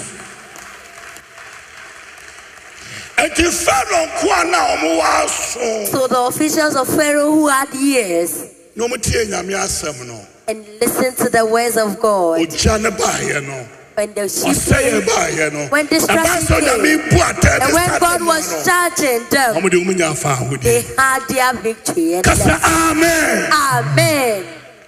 Speaker 1: ɛnti fɛno nkoa na ɔmowɔ aso
Speaker 2: so the officials of Pharaoh who had ears
Speaker 1: na ɔmtie nyame asɛm no
Speaker 2: and listened to the words of God.
Speaker 1: ogya ne baeɛ no
Speaker 2: When the sheep
Speaker 1: ɔsɛe
Speaker 2: came,
Speaker 1: baeɛ no
Speaker 2: When destruction
Speaker 1: ɛba sɛ nyame bu atɛ
Speaker 2: and when God was charging them,
Speaker 1: ɔmode womu nya afa ahode
Speaker 2: they had their victory. And
Speaker 1: kasa amen
Speaker 2: Amen.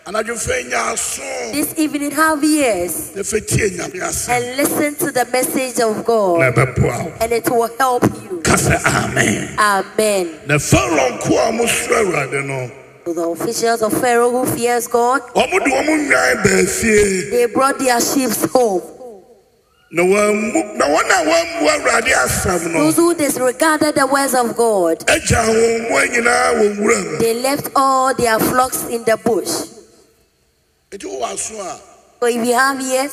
Speaker 1: anadwofɛ nya aso
Speaker 2: This evening, have ears
Speaker 1: na fɛtie nyame asɛm
Speaker 2: and listen to the message of
Speaker 1: na
Speaker 2: God,
Speaker 1: ɛbɛboa wo
Speaker 2: and it will help you.
Speaker 1: ka sɛ amen
Speaker 2: Amen.
Speaker 1: na farao nko a mosoro awurade no
Speaker 2: So the officials of Pharaoh who fears God,
Speaker 1: ɔmode wɔ mo nwan baa fie
Speaker 2: they brought their sheep home.
Speaker 1: na wɔammu- na wɔn a wɔammu awurade asɛm no E
Speaker 2: Those who disregarded the words of God,
Speaker 1: agya wɔn mmoa nyinaa wɔ nwura mu
Speaker 2: they left all their flocks in the bush.
Speaker 1: nti wowɔ aso a
Speaker 2: So if you have ears,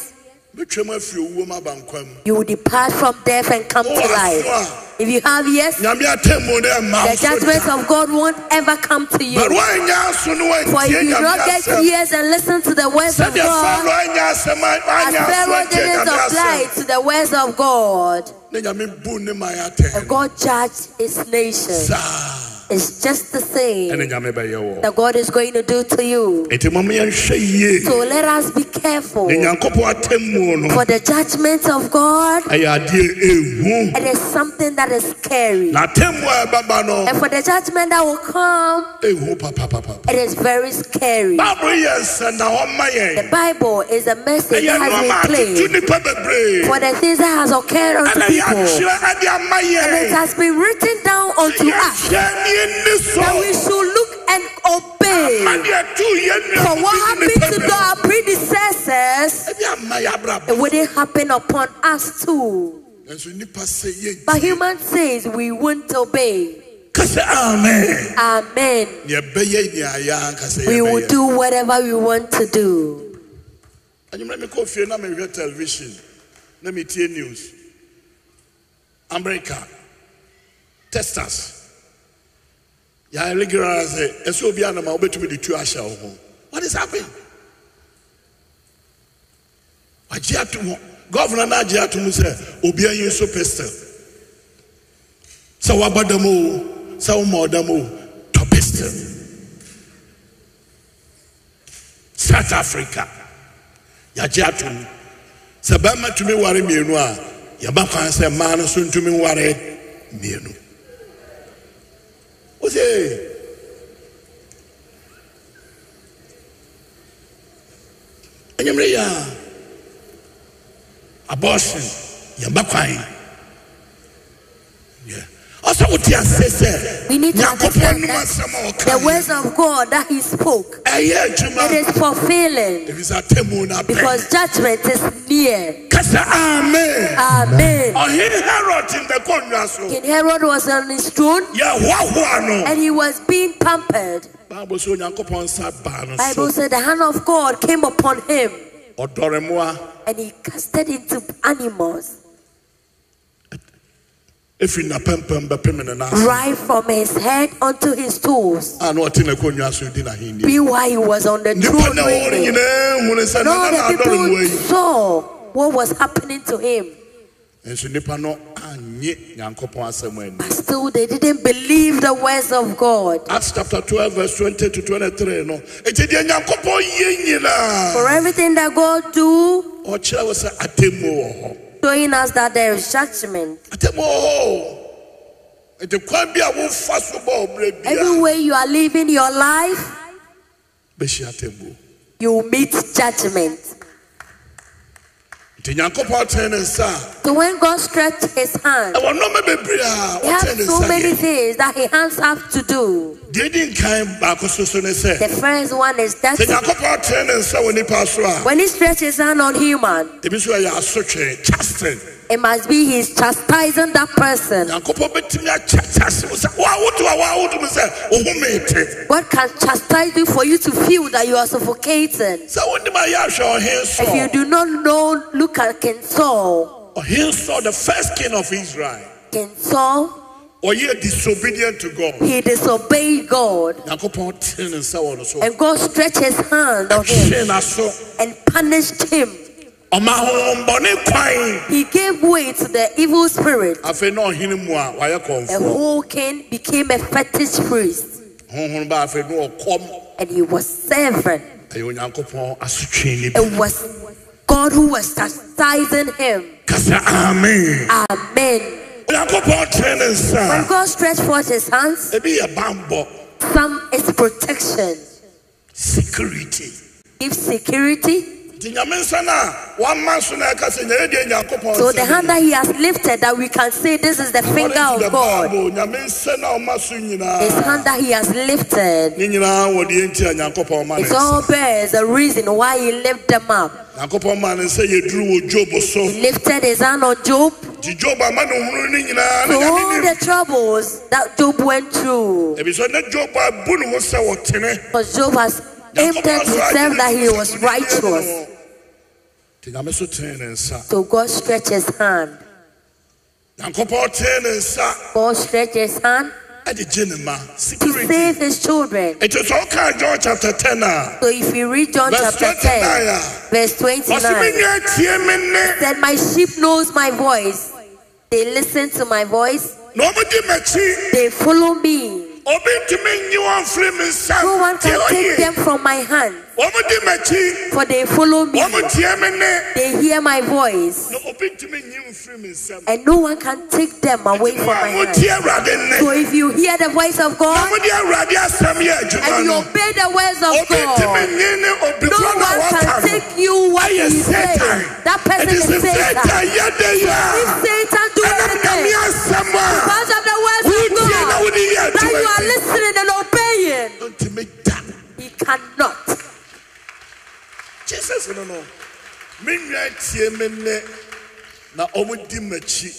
Speaker 1: metwam afiri owuo m aba nkwa mu
Speaker 2: you will depart from death and come to
Speaker 1: wowɔ
Speaker 2: life.
Speaker 1: aso
Speaker 2: If you have ears,
Speaker 1: a nyame atemmu no ɛmma wo
Speaker 2: the
Speaker 1: so
Speaker 2: judgments
Speaker 1: da
Speaker 2: of God won't ever come to
Speaker 1: but
Speaker 2: you.
Speaker 1: woannya aso no
Speaker 2: For if
Speaker 1: woantie
Speaker 2: you do
Speaker 1: nyame
Speaker 2: not get
Speaker 1: asɛm
Speaker 2: ears and listen to the words of
Speaker 1: sɛdeɛ
Speaker 2: God,
Speaker 1: farao anya asɛm a-
Speaker 2: as
Speaker 1: anya aso
Speaker 2: Pharaoh
Speaker 1: antie
Speaker 2: didn't
Speaker 1: nyame
Speaker 2: apply
Speaker 1: asɛm
Speaker 2: to the words of God,
Speaker 1: na nyame bu ne man atɛn
Speaker 2: and God judged his nation.
Speaker 1: saa
Speaker 2: It's just the
Speaker 1: ɛne
Speaker 2: same
Speaker 1: nyame bɛyɛ wɔ
Speaker 2: that God is going to do to you.
Speaker 1: ɛti mama yɛnhwɛ yie
Speaker 2: So let us be careful
Speaker 1: ne nyankopɔn atemmuo no
Speaker 2: for the judgment of God.
Speaker 1: ɛyɛ adeɛ ɛhu
Speaker 2: It is something that is scary,
Speaker 1: e na atemmuo a ɛbɛba no
Speaker 2: and for the judgment that will come,
Speaker 1: ɛhu papapapa
Speaker 2: it is very scary.
Speaker 1: bible yɛ nsɛ na ɔma
Speaker 2: The
Speaker 1: yɛn
Speaker 2: Bible is a message
Speaker 1: ɛyɛ
Speaker 2: that
Speaker 1: nneɔma
Speaker 2: has been
Speaker 1: atutu
Speaker 2: played
Speaker 1: nnipa bebree
Speaker 2: for the things that has occurred unto
Speaker 1: ɛna
Speaker 2: people,
Speaker 1: yɛakyerɛ ɛde ama
Speaker 2: and
Speaker 1: yɛn
Speaker 2: it has been written down unto us
Speaker 1: yɛhyɛ neɛni
Speaker 2: that we
Speaker 1: so
Speaker 2: should look and obey.
Speaker 1: madeɛ tu yɛ
Speaker 2: For what happened to
Speaker 1: nnuaɛbi
Speaker 2: our predecessors,
Speaker 1: ama yɛabrabɔ
Speaker 2: it wouldn't happen upon us too.
Speaker 1: nanso nnipa sɛ yɛ
Speaker 2: But human says we won't obey.
Speaker 1: ka sɛ amen
Speaker 2: Amen.
Speaker 1: neɛ ɛbɛyɛ neayɛ anka sɛ
Speaker 2: We will
Speaker 1: yɛbɛyɛ
Speaker 2: do whatever we want to do.
Speaker 1: anwummerɛ mekɔ fie na mehwɛ television na metie news america testers yɛaregara sɛ ɛsɛ obi anam a wobɛtumi de tu ahyɛ wo ho what is happening wagye ato ho gɔvena no agye ato mu sɛ obia yi nso pistol sɛ woaba dam o sɛ woma ɔdam o tɔ pistol south africa yagye ato mu sɛ bɛrima tumi ware mmienu a yɛba kwan sɛ mmaa no so ntumi nware mmienu wose anyimere yɛ a abortion yɛba kwan Yɛ- ɔsɛ wote ase sɛ
Speaker 2: We need to
Speaker 1: nyankopɔn
Speaker 2: understand
Speaker 1: nom
Speaker 2: that
Speaker 1: asɛm a
Speaker 2: the
Speaker 1: ɔka
Speaker 2: words of God that He spoke,
Speaker 1: ɛyɛ
Speaker 2: it
Speaker 1: adwuma
Speaker 2: is fulfilling
Speaker 1: ɛfisɛ atemmu no abɛn
Speaker 2: because judgment is near.
Speaker 1: kasa amen
Speaker 2: Amen.
Speaker 1: ɔhene herod mbɛkɔ nnwa so
Speaker 2: King Herod was on his throne
Speaker 1: yɛhoahoa no
Speaker 2: and he was being pampered.
Speaker 1: bible sɛ onyankopɔn nsa baa no
Speaker 2: Bible
Speaker 1: so
Speaker 2: said the hand of God came upon him
Speaker 1: ɔdɔre mmoa
Speaker 2: and he casted into animals
Speaker 1: efi napɛmpɛm bɛpem ne nan
Speaker 2: right from his head unto his toes.
Speaker 1: a na ɔte n'akonnwa so di n'ahenni
Speaker 2: Meanwhile, he was on the
Speaker 1: nipa
Speaker 2: throne.
Speaker 1: na ɔwɔre
Speaker 2: reigning.
Speaker 1: nyinaa hunu sɛ
Speaker 2: And all
Speaker 1: nana na
Speaker 2: the
Speaker 1: adɔre mmoa
Speaker 2: people
Speaker 1: yi
Speaker 2: saw what was happening to him,
Speaker 1: nso nipa no anye nyankopɔn asɛm ani
Speaker 2: but still they didn't believe the words of God.
Speaker 1: acts chapter twelve verse twenty to twenty-three no eti deɛ nyankopɔn yɛ
Speaker 2: For
Speaker 1: nyinaa
Speaker 2: everything that God do,
Speaker 1: ɔkyerɛ wɔ sɛ atemmu wɔ hɔ.
Speaker 2: showing us that there is judgment.
Speaker 1: atɛmu wɔ hɔ o. nti kwan bi a wofa so bɔ ɔbrɛ
Speaker 2: Every
Speaker 1: bia
Speaker 2: way you are living your life,
Speaker 1: bɛhyia atɛmu
Speaker 2: you meet judgment.
Speaker 1: nti nyankopɔn tene ne nsa
Speaker 2: So when God stretched his
Speaker 1: a
Speaker 2: hand,
Speaker 1: ɛwɔ nneɛma bebree a
Speaker 2: he had
Speaker 1: ɔtene ne
Speaker 2: so
Speaker 1: nsa
Speaker 2: many
Speaker 1: yɛ
Speaker 2: things that he hands have to do.
Speaker 1: deɛ di nkan baako soso ne
Speaker 2: The
Speaker 1: sɛ
Speaker 2: first one is
Speaker 1: sɛ
Speaker 2: that
Speaker 1: nyankopɔn tene ne nsa wɔ nipa so a
Speaker 2: when he stretches his hand on human,
Speaker 1: ebi nso yɛ asotwe chasten
Speaker 2: it must be he's chastising that person.
Speaker 1: nyankopɔn bɛtumi akyɛ chasten wo sɛ woawoto a woawoto mu sɛ wo ho meete
Speaker 2: God can chastise you for you to feel that you are suffocating.
Speaker 1: sɛ wonim a yɛahwɛ ɔhen
Speaker 2: If you
Speaker 1: Saul.
Speaker 2: do not know, look at King Saul.
Speaker 1: ɔhen Saul, the first king of israel
Speaker 2: King Saul,
Speaker 1: ɔyɛ disobedient to god
Speaker 2: he disobeyed God,
Speaker 1: nyankopɔn tene ne nsa wɔ no so
Speaker 2: and God stretched his hand on him
Speaker 1: ɛhwee n'aso
Speaker 2: and punished him.
Speaker 1: ɔma ahohombɔne kwan
Speaker 2: He gave way to the evil spirit.
Speaker 1: afei na ɔhene mu a wayɛ kɔmfo
Speaker 2: The whole king became a fetish priest,
Speaker 1: honhon ba afei na ɔkɔm
Speaker 2: and he was serving.
Speaker 1: ɛyɛ onyankopɔn asotwe ne bi
Speaker 2: It was God who was chastising him.
Speaker 1: kasa amen
Speaker 2: Amen.
Speaker 1: onyankopɔn tene ne
Speaker 2: When
Speaker 1: nsa
Speaker 2: God stretched forth his hands,
Speaker 1: ebi yɛ bambɔ
Speaker 2: some is protection,
Speaker 1: security
Speaker 2: gives security,
Speaker 1: nti nyame nsa no a wama so na ɛka sɛ nyɛyɛ deɛ nyankopɔn
Speaker 2: So
Speaker 1: nsa
Speaker 2: the
Speaker 1: ni.
Speaker 2: hand that he has lifted that we can say this is the
Speaker 1: According
Speaker 2: finger
Speaker 1: to the
Speaker 2: of God.
Speaker 1: Bible, nyame nsa no a ɔma so
Speaker 2: His
Speaker 1: nyinaa
Speaker 2: hand that he has lifted.
Speaker 1: ne nyinaa wɔ deɛ nti a nyankopɔn ma ne
Speaker 2: It
Speaker 1: nsa
Speaker 2: all bears a reason why he lifted them up.
Speaker 1: nyankopɔn ma ne nsa yɛduru wɔ dwob so
Speaker 2: He lifted his hand on Job to
Speaker 1: nti dwob ama ne hunu ne nyinaa ne nyame
Speaker 2: all
Speaker 1: nim
Speaker 2: the troubles that Job went through.
Speaker 1: ebi sɛ ne job a bu ne ho sɛ wɔtene
Speaker 2: Because Job has aimed at himself that he was righteous.
Speaker 1: nti nyame so tene ne nsa
Speaker 2: So God stretched his hand.
Speaker 1: nyankopɔn tene ne nsa
Speaker 2: God stretched his hand
Speaker 1: ɛde gye ne ma
Speaker 2: to
Speaker 1: security
Speaker 2: save his children.
Speaker 1: nti sɛ wokaa john chapter 10 a
Speaker 2: So if you read John
Speaker 1: Verse
Speaker 2: chapter
Speaker 1: 29, yeah.
Speaker 2: 10, verse 29.
Speaker 1: ɔse me nua tie me nne
Speaker 2: that my sheep knows my voice. They listen to my voice.
Speaker 1: na ɔmodi m'akyi
Speaker 2: They follow me.
Speaker 1: obi ntumi nye wɔn mfiri me
Speaker 2: No
Speaker 1: nsa
Speaker 2: one
Speaker 1: tie
Speaker 2: can take
Speaker 1: oye
Speaker 2: them from my hand,
Speaker 1: ɔmodi m'akyi
Speaker 2: for they follow me.
Speaker 1: ɔmo tie me nne
Speaker 2: They hear my voice,
Speaker 1: na obi ntumi nye mfiri me nsam
Speaker 2: and no one can take them away from my
Speaker 1: mo
Speaker 2: hand.
Speaker 1: tie awurade
Speaker 2: So
Speaker 1: nne
Speaker 2: if you hear the voice of
Speaker 1: na
Speaker 2: God
Speaker 1: mode awurade asɛm yɛ adwuma
Speaker 2: and you
Speaker 1: no
Speaker 2: obey the words of
Speaker 1: obi ntumi
Speaker 2: God,
Speaker 1: nye ne obi
Speaker 2: no
Speaker 1: kora na
Speaker 2: one
Speaker 1: wɔka
Speaker 2: can
Speaker 1: no
Speaker 2: take you what
Speaker 1: ɛyɛ
Speaker 2: he says.
Speaker 1: Satan.
Speaker 2: That person
Speaker 1: ɛde
Speaker 2: is
Speaker 1: sɛ
Speaker 2: Satan.
Speaker 1: Satan yɛ de yɛ
Speaker 2: If
Speaker 1: a
Speaker 2: Satan do
Speaker 1: ɛnam nyame
Speaker 2: anything,
Speaker 1: asɛm a
Speaker 2: because of the words of
Speaker 1: wotie na
Speaker 2: God,
Speaker 1: wode yɛ
Speaker 2: that you are
Speaker 1: adwuma
Speaker 2: listening and obeying,
Speaker 1: nti ntumi da
Speaker 2: he cannot.
Speaker 1: jesus no no me nua tie me nnɛ na ɔmo di m'akyi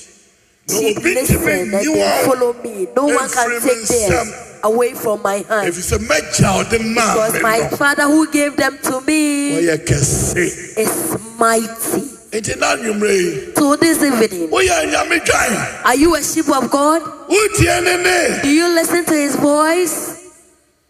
Speaker 1: na
Speaker 2: Sheep
Speaker 1: obi
Speaker 2: listen
Speaker 1: ntumi
Speaker 2: and they
Speaker 1: nye wɔn
Speaker 2: follow me. No one can
Speaker 1: Every
Speaker 2: take them
Speaker 1: man-
Speaker 2: away from my hand.
Speaker 1: efisɛ mɛgya ɔde maa me
Speaker 2: Because my
Speaker 1: no
Speaker 2: father who gave them to me
Speaker 1: wɔyɛ kɛse
Speaker 2: is mighty.
Speaker 1: nti na anwummerɛ yi
Speaker 2: So this evening,
Speaker 1: woyɛ nyame dwan
Speaker 2: are you a sheep of God?
Speaker 1: wotie ne nne
Speaker 2: Do you listen to his voice?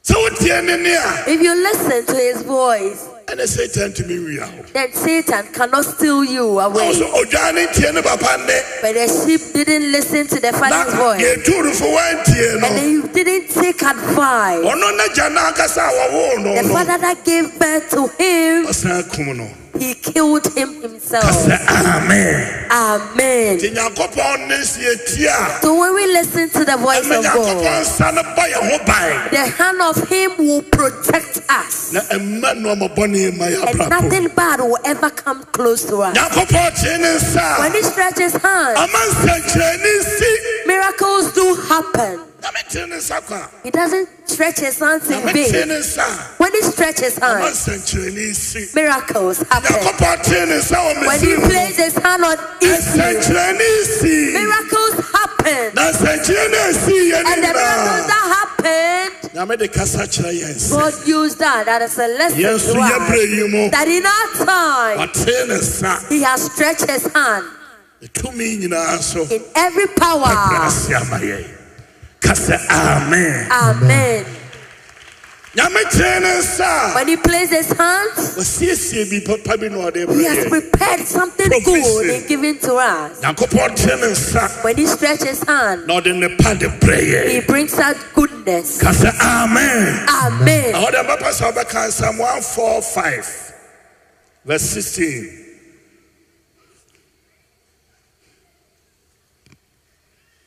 Speaker 1: sɛ wotie ne nne a
Speaker 2: If you listen to his voice,
Speaker 1: ɛne satan tumi wia wo
Speaker 2: then Satan cannot steal you
Speaker 1: ɔwɔ
Speaker 2: away.
Speaker 1: so odwan ne ntie ne papa nne
Speaker 2: But the sheep didn't listen to the
Speaker 1: na
Speaker 2: father's voice.
Speaker 1: yɛturufo woantie no
Speaker 2: And they didn't take advice.
Speaker 1: ɔno n'agya no ankasa a wɔwoo no
Speaker 2: The
Speaker 1: Oh, no
Speaker 2: father that gave birth to him,
Speaker 1: ɔsan kum no
Speaker 2: he killed him
Speaker 1: ka
Speaker 2: himself.
Speaker 1: sɛ amen
Speaker 2: Amen.
Speaker 1: nti nyankopɔn nne sietie a
Speaker 2: So when we listen to the voice
Speaker 1: ɛma
Speaker 2: of God,
Speaker 1: nyankopɔn nsa no bɔ yɛ ho ban
Speaker 2: the hand of Him will protect us,
Speaker 1: na ɛmma nnoɔma bɔne ma yɛ
Speaker 2: and
Speaker 1: abrabɔ
Speaker 2: nothing bad will ever come close to us.
Speaker 1: nyankopɔn tee ne nsa
Speaker 2: When He stretches
Speaker 1: a
Speaker 2: hand,
Speaker 1: ama nsɛnkyerɛnne si
Speaker 2: miracles do happen.
Speaker 1: nyame tee ne nsa kwa
Speaker 2: He doesn't stretch His hands in
Speaker 1: nyame tee
Speaker 2: vain.
Speaker 1: ne nsa
Speaker 2: When He stretches
Speaker 1: a ama
Speaker 2: hand,
Speaker 1: nsɛnkyerɛnne si
Speaker 2: miracles happen.
Speaker 1: nyankopɔn tee ne nsa wɔ
Speaker 2: When He
Speaker 1: mesiri mu
Speaker 2: places His hand on Israel,
Speaker 1: nsɛnkyerɛnne si
Speaker 2: miracles happen,
Speaker 1: na nsɛnkyerɛnne asi yɛ ne
Speaker 2: and the miracles
Speaker 1: nyinaa
Speaker 2: that happened
Speaker 1: nyame de kasa kyerɛ yɛn sɛ
Speaker 2: God used that as a lesson
Speaker 1: yɛn so
Speaker 2: to us.
Speaker 1: yɛbrɛ yi mu
Speaker 2: That in our time,
Speaker 1: ɔtee ne sa
Speaker 2: He has stretched His hand
Speaker 1: tumi nyinaa so
Speaker 2: in every
Speaker 1: ɛbrɛ
Speaker 2: power.
Speaker 1: ase ama yɛn ka sɛ amen
Speaker 2: Amen.
Speaker 1: nyame tee ne nsa a
Speaker 2: When He placed His hands,
Speaker 1: wasiesie bi papa bi na ɔde
Speaker 2: He
Speaker 1: brɛ
Speaker 2: has
Speaker 1: yɛn
Speaker 2: prepared something good and given to us.
Speaker 1: nyankopɔn tee ne nsa
Speaker 2: When He stretched His hand,
Speaker 1: na ɔde ne pa de brɛ
Speaker 2: He
Speaker 1: yɛn
Speaker 2: brings out goodness.
Speaker 1: ka sɛ amen
Speaker 2: Amen.
Speaker 1: na ɔde mbɛpɛ sɛ ɔbɛka nsɛm 145 verse 16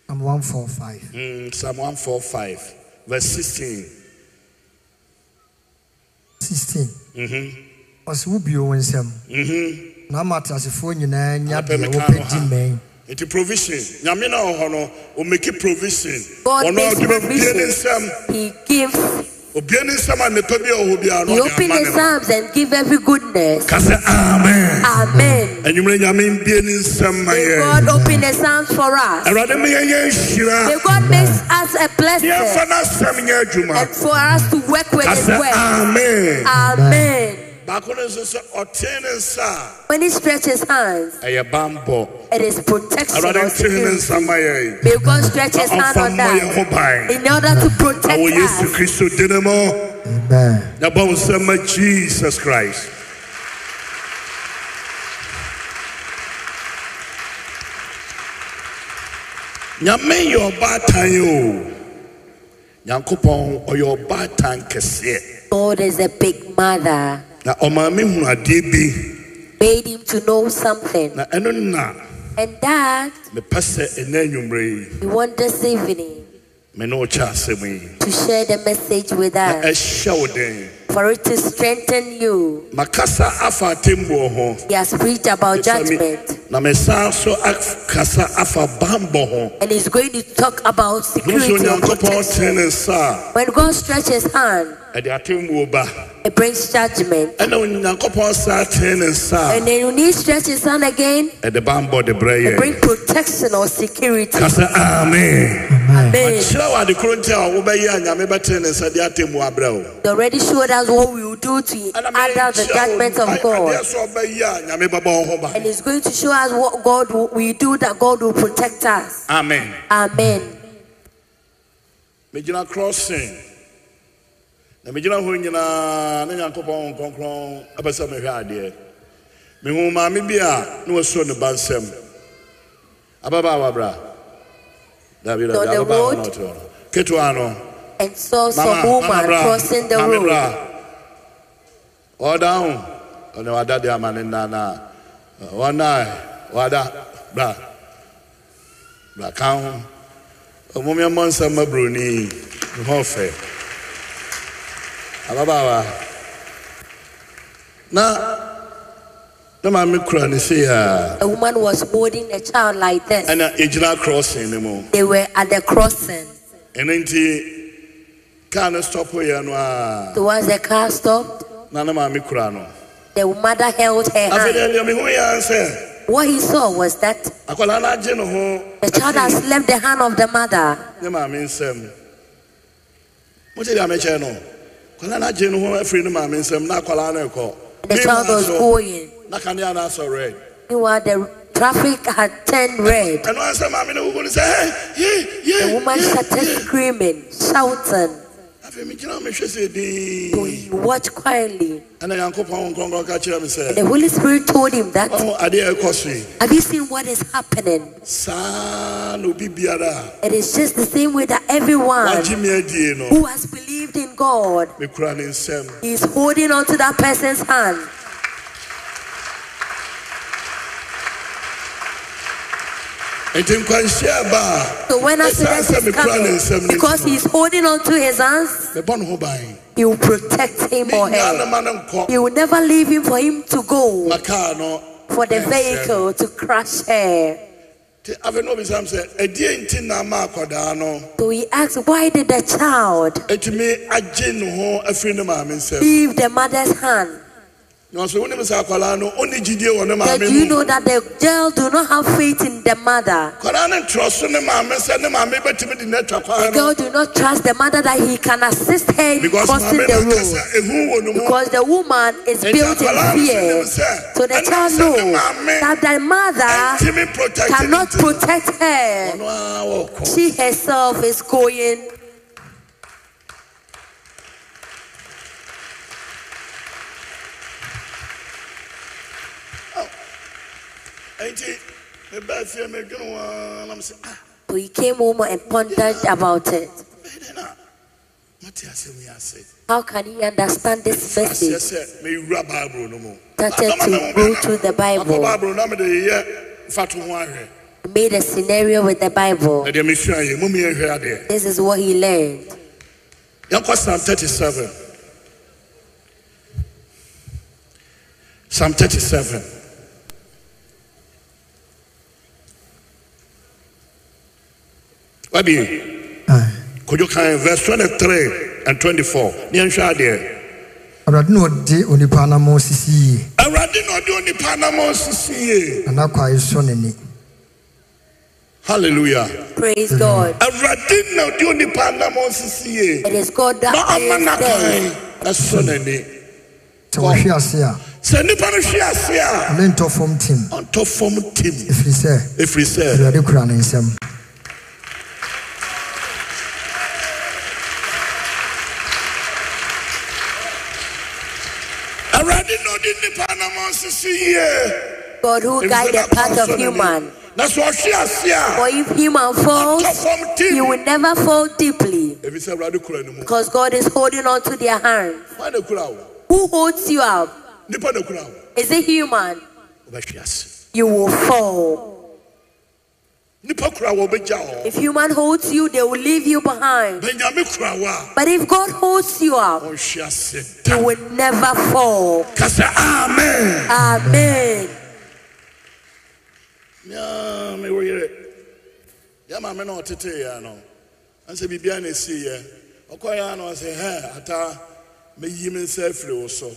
Speaker 3: I'm 145.
Speaker 1: Mm, Psalm 145, verse 16.
Speaker 3: 16.
Speaker 1: Mhm.
Speaker 3: Ɔsɛ wobue wo nsɛm na ama ateasefoɔ nyinaa nya
Speaker 1: Anɔpa
Speaker 3: deɛ
Speaker 1: Mhm. meka no
Speaker 3: wopɛ di
Speaker 1: ha.
Speaker 3: mmɛn.
Speaker 1: Nti provision, nyame na ɔhɔ no, ɔmeki provision.
Speaker 2: God
Speaker 1: Ɔno
Speaker 2: makes
Speaker 1: ɔde bɛ bie ne
Speaker 2: provision.
Speaker 1: nsɛm.
Speaker 2: He gives.
Speaker 1: Obie ne nsɛm a nnipa bi a ɔwɔ hɔ biara
Speaker 2: He
Speaker 1: no ɔde
Speaker 2: opens
Speaker 1: ama ne
Speaker 2: His
Speaker 1: no.
Speaker 2: arms and gives every goodness.
Speaker 1: Ka sɛ amen.
Speaker 2: Amen.
Speaker 1: Anwummere nyame mbie ne nsɛm ma
Speaker 2: May
Speaker 1: yɛn.
Speaker 2: God open His arms for us.
Speaker 1: Awurade ma yɛnyɛ
Speaker 2: May
Speaker 1: nhyira.
Speaker 2: God make us a
Speaker 1: Ne
Speaker 2: blessing
Speaker 1: yɛmfa n'asɛm nyɛ
Speaker 2: and
Speaker 1: adwuma.
Speaker 2: for us to work with
Speaker 1: Ka
Speaker 2: His
Speaker 1: sɛ
Speaker 2: word.
Speaker 1: amen.
Speaker 2: Amen.
Speaker 1: Baako no nso sɛ ɔtee ne nsa
Speaker 2: When He stretches hands,
Speaker 1: a, ɛyɛ bammɔ.
Speaker 2: it is protection.
Speaker 1: Awurade ntee ne
Speaker 2: or security.
Speaker 1: nsa ma yɛn.
Speaker 2: May God stretch
Speaker 1: Na
Speaker 2: His hand
Speaker 1: ɔmfa
Speaker 2: on
Speaker 1: mmɔ yɛn
Speaker 2: that
Speaker 1: ho ban.
Speaker 2: in order to protect
Speaker 1: Our Yesu
Speaker 2: us.
Speaker 1: Kristo din mu.
Speaker 3: Amen.
Speaker 1: Na bom sama Jesus Christ. Nyame yɛ ɔbaatan o. Nyankopɔn ɔyɛ ɔbaatan kɛseɛ.
Speaker 2: God is a big mother,
Speaker 1: Na ɔmaa me hunu adeɛ bi
Speaker 2: made him to know something.
Speaker 1: na ɛno na
Speaker 2: And that
Speaker 1: mepɛ sɛ ɛnɛ anwummere yi
Speaker 2: we want this evening
Speaker 1: me ne wo kyɛ asɛm yi.
Speaker 2: to share the message with
Speaker 1: Na
Speaker 2: us
Speaker 1: ɛhyɛ wo den.
Speaker 2: for it to strengthen you.
Speaker 1: Makasa afa atemmuo ho.
Speaker 2: He has preached about judgment
Speaker 1: Na mesan so akasa afa bammɔ ho.
Speaker 2: and he's going to talk about security.
Speaker 1: Nusu
Speaker 2: or
Speaker 1: nyankopɔn tee
Speaker 2: protection.
Speaker 1: ne nsa
Speaker 2: When God stretches his hand,
Speaker 1: a, ɛde atemmuo ba.
Speaker 2: it brings judgment.
Speaker 1: Ɛna onyankopɔn sa tee ne nsa
Speaker 2: And then when he stretches his hand again,
Speaker 1: a, ɛde bammɔ de
Speaker 2: it
Speaker 1: brɛ yɛn.
Speaker 2: brings protection or security.
Speaker 1: Ka sɛ amen.
Speaker 2: Amen.
Speaker 1: Kyerɛ wɔ ade koro nti a wobɛyɛ a nyame bɛtee ne nsa de atemmuo abrɛ wo.
Speaker 2: He already showed us what we will do to
Speaker 1: Ɛna
Speaker 2: under the
Speaker 1: mekyerɛ wo
Speaker 2: judgment
Speaker 1: ae-
Speaker 2: of God.
Speaker 1: Adeɛ so ɔbɛyɛ a nyame bɛbɔ wo ho
Speaker 2: And
Speaker 1: ba.
Speaker 2: he's going to show us what God will, we do that God will protect us.
Speaker 1: Amen.
Speaker 2: Amen.
Speaker 1: Megyina crossing. Na megyina hɔ nyinaa ne nyankopɔn nkronkron ɛpɛ sɛ mehwɛ adeɛ. Mehu maame bi a ne wasuo ne ba nsam. Ababaawa bra. Dabi dabi
Speaker 2: On the
Speaker 1: ababaawa na
Speaker 2: road.
Speaker 1: ɔte hɔ no. Ketewa no.
Speaker 2: And saw some
Speaker 1: Mama
Speaker 2: woman
Speaker 1: mama bra.
Speaker 2: crossing the
Speaker 1: Maame
Speaker 2: road.
Speaker 1: bra. Ɔda ho. Ɔne wada de ama ne nna na. Ɔna wada bra. Bra ka ho. Ɔmomia mmɔ nsɛm ma buroni. Ne ho ɔfɛ. Ababaawa. Na ne maame kura ne se a.
Speaker 2: A woman was holding a child like this.
Speaker 1: ɛna egyina crossing ne mu
Speaker 2: They were at the crossing.
Speaker 1: ɛno nti kaa no stop yɛ no a
Speaker 2: Towards the car stopped,
Speaker 1: na ne maame kura no
Speaker 2: the mother held her
Speaker 1: afei
Speaker 2: hand.
Speaker 1: deɛ deɛ mehu yɛ ara sɛ
Speaker 2: What he saw was that
Speaker 1: akwadaa no agye ne ho
Speaker 2: the child
Speaker 1: afiri
Speaker 2: has left the hand of the mother.
Speaker 1: ne maame nsam mote deɛ mekyɛ no akwadaa no agye ne ho afiri ne maame nsam na akwadaa no ɛkɔ
Speaker 2: The child was going.
Speaker 1: na kanea no asɔ red
Speaker 2: Meanwhile, the traffic had turned red.
Speaker 1: ɛno ara sɛ maame no wogu no sɛ "Hey, ye ye
Speaker 2: The woman
Speaker 1: ye,
Speaker 2: started
Speaker 1: ye."
Speaker 2: screaming, shouting.
Speaker 1: afei megyina hɔ mehwɛ sɛ
Speaker 2: So
Speaker 1: dii
Speaker 2: he watched quietly.
Speaker 1: ɛna nyankopɔn nkrɔnkrɔn ka kyerɛ me sɛ
Speaker 2: The Holy Spirit told him that,
Speaker 1: ɔho adeɛ a ɛkɔ so yi
Speaker 2: have you seen what is happening?
Speaker 1: saa na obi biara a
Speaker 2: It is just the same way that everyone
Speaker 1: wagye me adie no
Speaker 2: who has believed in God
Speaker 1: mekura ne nsɛm
Speaker 2: is holding on to that person's hand.
Speaker 1: nti nkwanhyia ba a
Speaker 2: So when
Speaker 1: Yes,
Speaker 2: accident
Speaker 1: I said
Speaker 2: is
Speaker 1: the plan is
Speaker 2: coming,
Speaker 1: seven
Speaker 2: because
Speaker 1: days.
Speaker 2: he's holding on to his hands,
Speaker 1: mebɔ ne ho ban
Speaker 2: he will protect him or
Speaker 1: menyaa ne
Speaker 2: her.
Speaker 1: ma no nkɔ
Speaker 2: He will never leave him for him to go
Speaker 1: ma kaa no
Speaker 2: for the
Speaker 1: Yes,
Speaker 2: vehicle to crash her.
Speaker 1: nti afei ne obisam sɛ adie nti na ma akwadaa no
Speaker 2: So he asked, why did the child
Speaker 1: ɛtumi agye ne ho afiri ne maame nsɛm
Speaker 2: leave the mother's hand?
Speaker 1: na ɔsɛ wonim sɛ akwadaa no ɔne gyidie wɔ ne
Speaker 2: That
Speaker 1: maame
Speaker 2: you
Speaker 1: mu
Speaker 2: know that the girl do not have faith in the mother.
Speaker 1: akwadaa no ntrɔ so ne maame sɛ ne maame bɛtumi de ne atwa
Speaker 2: The
Speaker 1: kwaa no
Speaker 2: girl do not trust the mother that he can assist her in
Speaker 1: because
Speaker 2: crossing
Speaker 1: maame no aka
Speaker 2: the road.
Speaker 1: sɛ ehu wɔ ne mu
Speaker 2: Because the woman is
Speaker 1: Nti
Speaker 2: built
Speaker 1: akwadaa
Speaker 2: in
Speaker 1: no
Speaker 2: fear.
Speaker 1: sɛ ne sɛ,
Speaker 2: So the
Speaker 1: ɛnam
Speaker 2: child
Speaker 1: sɛ ne
Speaker 2: knows
Speaker 1: maame
Speaker 2: that the mother
Speaker 1: ɛntimi protect ne
Speaker 2: cannot
Speaker 1: nti,
Speaker 2: protect her.
Speaker 1: ɔno ara wɔkɔ
Speaker 2: She herself is going.
Speaker 1: enti mebaa fie medwene ho ara na mesɛ ah
Speaker 2: So he came home and pondered about it.
Speaker 1: bɛdɛ na mate asɛm yi ase
Speaker 2: How can he understand this
Speaker 1: aseɛ
Speaker 2: message?
Speaker 1: sɛ mewura bible no mu
Speaker 2: Started
Speaker 1: Adɔma
Speaker 2: to
Speaker 1: me ho
Speaker 2: go
Speaker 1: bɛna.
Speaker 2: through the Bible.
Speaker 1: Makɔ bible na mede yɛ mfato ho ahwɛ
Speaker 2: He made a scenario with the Bible.
Speaker 1: na deɛ mesuayɛ mu meyɛhwɛ adeɛ
Speaker 2: This is what he learned.
Speaker 1: yɛnkɔ psalm 37 psalm 37 wabie
Speaker 3: Aye.
Speaker 1: Kojo kan verse 23 and 24. Ni nhwa ade.
Speaker 3: awurade na ɔde onipa anammɔ sisi yie
Speaker 1: Awurade na ɔde onipa anam sisiye.
Speaker 3: na n'akwae sɔ n'ani
Speaker 1: Hallelujah.
Speaker 2: Praise God.
Speaker 1: Awurade na ɔde onipa anam sisiye.
Speaker 2: It is God
Speaker 1: Na
Speaker 2: that
Speaker 1: ama
Speaker 2: is
Speaker 1: na
Speaker 2: there.
Speaker 1: kan ɛsɔ n'ani.
Speaker 3: sɛ wɔhwe ase a
Speaker 1: Sɛ nipa no hwe ase a
Speaker 3: ɔne ntɔ fam tim
Speaker 1: ɔntɔ fam tim.
Speaker 3: ɛfiri sɛ
Speaker 1: Efiri sɛ
Speaker 3: awurade kura ne nsam
Speaker 1: Awurade na ɔde nipa anam sisiye.
Speaker 2: God who guides the path of human.
Speaker 1: Na sɛ ɔhwe ase a
Speaker 2: For if human
Speaker 1: ɔntɔ
Speaker 2: falls,
Speaker 1: fam
Speaker 2: he
Speaker 1: tim.
Speaker 2: will never fall deeply.
Speaker 1: Ebi sɛ Awurade kura ne mu.
Speaker 2: Because God is holding on to their hand.
Speaker 1: Wa na kura wo?
Speaker 2: Who holds you up?
Speaker 1: Nipa na kura wo?
Speaker 2: Is it human?
Speaker 1: Ɔbɛhwe ase.
Speaker 2: You will fall.
Speaker 1: Nipa kura wo ɔbɛgya wo.
Speaker 2: If human holds you, they will leave you behind.
Speaker 1: Benjamin Kurawa,
Speaker 2: But if God holds you up,
Speaker 1: Osha said,
Speaker 2: you will never fall.
Speaker 1: Kasa, Amen.
Speaker 2: Amen.
Speaker 1: Yeah, me wear it. Yeah, my men ought to tell you, no. I said, Bibian is here. Okoya, no, I say, hey, Ata, me yim in self, also.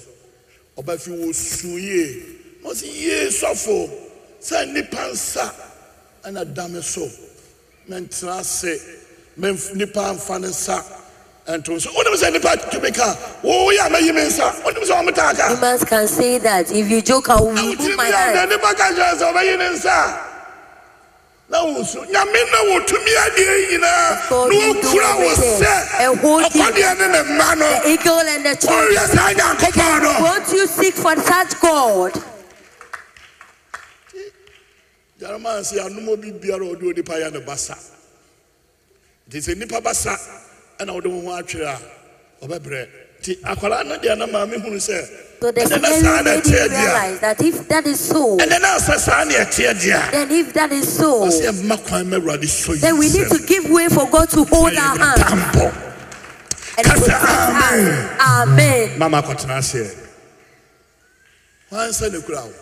Speaker 1: Ọba fi wo sun yie, wọ́n sì yie sọ́fọ̀, sẹ́ nípa nsa, ẹ̀na dàmé so, mẹ n tẹ̀ra se, mẹ nípa nfa ní nsa, ẹ̀ntọ́ so. Wọ́n ní mi sẹ́ nípa tumi ká, wọ́n yà mẹ́ yí mi nsa, wọ́n ní mi sẹ́ wọ́n mi tà ká.
Speaker 2: Humans can say that. If you joke, I will
Speaker 1: na wotiri
Speaker 2: remove my
Speaker 1: mi a na
Speaker 2: hand.
Speaker 1: nipa ka kyerɛ sɛ ɔbɛyi ne nsa a, na wosu nyame na wotumi adeɛ nyinaa na
Speaker 2: God will do
Speaker 1: okura wo
Speaker 2: everything.
Speaker 1: sɛ
Speaker 2: Ɛhɔ di.
Speaker 1: ɔkɔdeɛ ne ne mma no
Speaker 2: The oh. eagle and the
Speaker 1: ɔyɛ
Speaker 2: children.
Speaker 1: saa nyankopɔn no
Speaker 2: Won't you seek for such God?
Speaker 1: jeremia sɛ anomɔ bi biara a ɔde onipa yɛ ne basa nti sɛ nnipa basa ɛna wode wo ho atwerɛ uh, a ɔbɛbrɛ nti akwaraa no deɛ na maame hunu sɛ
Speaker 2: So the
Speaker 1: ɛnɛ na
Speaker 2: scenario
Speaker 1: saa na
Speaker 2: made him
Speaker 1: ɛteɛ deɛ
Speaker 2: realize that if that is so,
Speaker 1: a ɛnɛ na sɛ saa na ɛteɛ deɛ
Speaker 2: then if that is
Speaker 1: a
Speaker 2: so,
Speaker 1: ɔsɛ mma kwan ma awurade sɔ yi
Speaker 2: then we need
Speaker 1: nsam.
Speaker 2: to give way for God to hold our hand
Speaker 1: Tambo.
Speaker 2: and
Speaker 1: Kasa,
Speaker 2: protect us. Amen.
Speaker 1: Mama kɔtena aseɛ. Wansa na kura wo.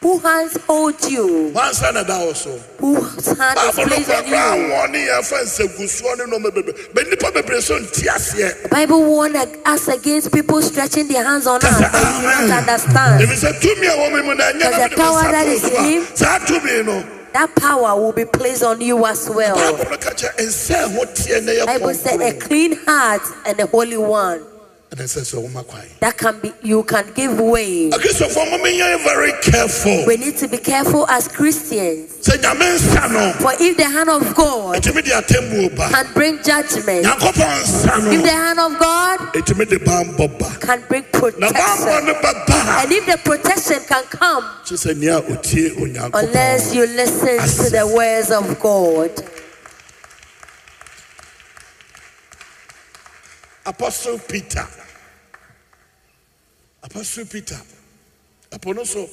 Speaker 2: Who hands hold you?
Speaker 1: Wansa na da wo so.
Speaker 2: Whose hand
Speaker 1: Baabo
Speaker 2: is
Speaker 1: no
Speaker 2: placed
Speaker 1: kura
Speaker 2: on
Speaker 1: kura
Speaker 2: you?
Speaker 1: awɔ ne yɛ fɛn sɛ gusuo ne nɔɔma bebree. Bɛ nipa bebree so nti aseɛ.
Speaker 2: The Bible warned us against people stretching their hands on us,
Speaker 1: Kasa,
Speaker 2: but we do not
Speaker 1: amen.
Speaker 2: understand.
Speaker 1: Ebi sɛ tumi a wɔn mu na ɛnyɛ
Speaker 2: Because
Speaker 1: na
Speaker 2: the
Speaker 1: mede
Speaker 2: power
Speaker 1: nsa
Speaker 2: that
Speaker 1: to
Speaker 2: is
Speaker 1: so
Speaker 2: in him-
Speaker 1: a saa tumi no.
Speaker 2: That power will be placed on you as well.
Speaker 1: Baabo no ka kyerɛ nsa ɛho teɛ na ɛyɛ
Speaker 2: Bible said, "A
Speaker 1: kɔnkɔn.
Speaker 2: clean heart and a holy one
Speaker 1: Ɛna sɛ sɛ wɔn akwan.
Speaker 2: that can be you can give way."
Speaker 1: Akristofoɔ mo mi yɛ very careful.
Speaker 2: We need to be careful as Christians,
Speaker 1: Sɛ nyame nsa no
Speaker 2: for if the hand of God
Speaker 1: etumi de atemmuo ba.
Speaker 2: can bring judgment,
Speaker 1: Nyankopɔn nsa
Speaker 2: if the
Speaker 1: no
Speaker 2: hand of God
Speaker 1: etumi de bambɔ ba.
Speaker 2: can bring
Speaker 1: na bambɔ
Speaker 2: protection,
Speaker 1: no bɛba
Speaker 2: and if the protection can come
Speaker 1: kye sɛ nea otie onyankopɔn
Speaker 2: unless you listen to the words of God.
Speaker 1: apostle peter apostle peter ɛpɔ no so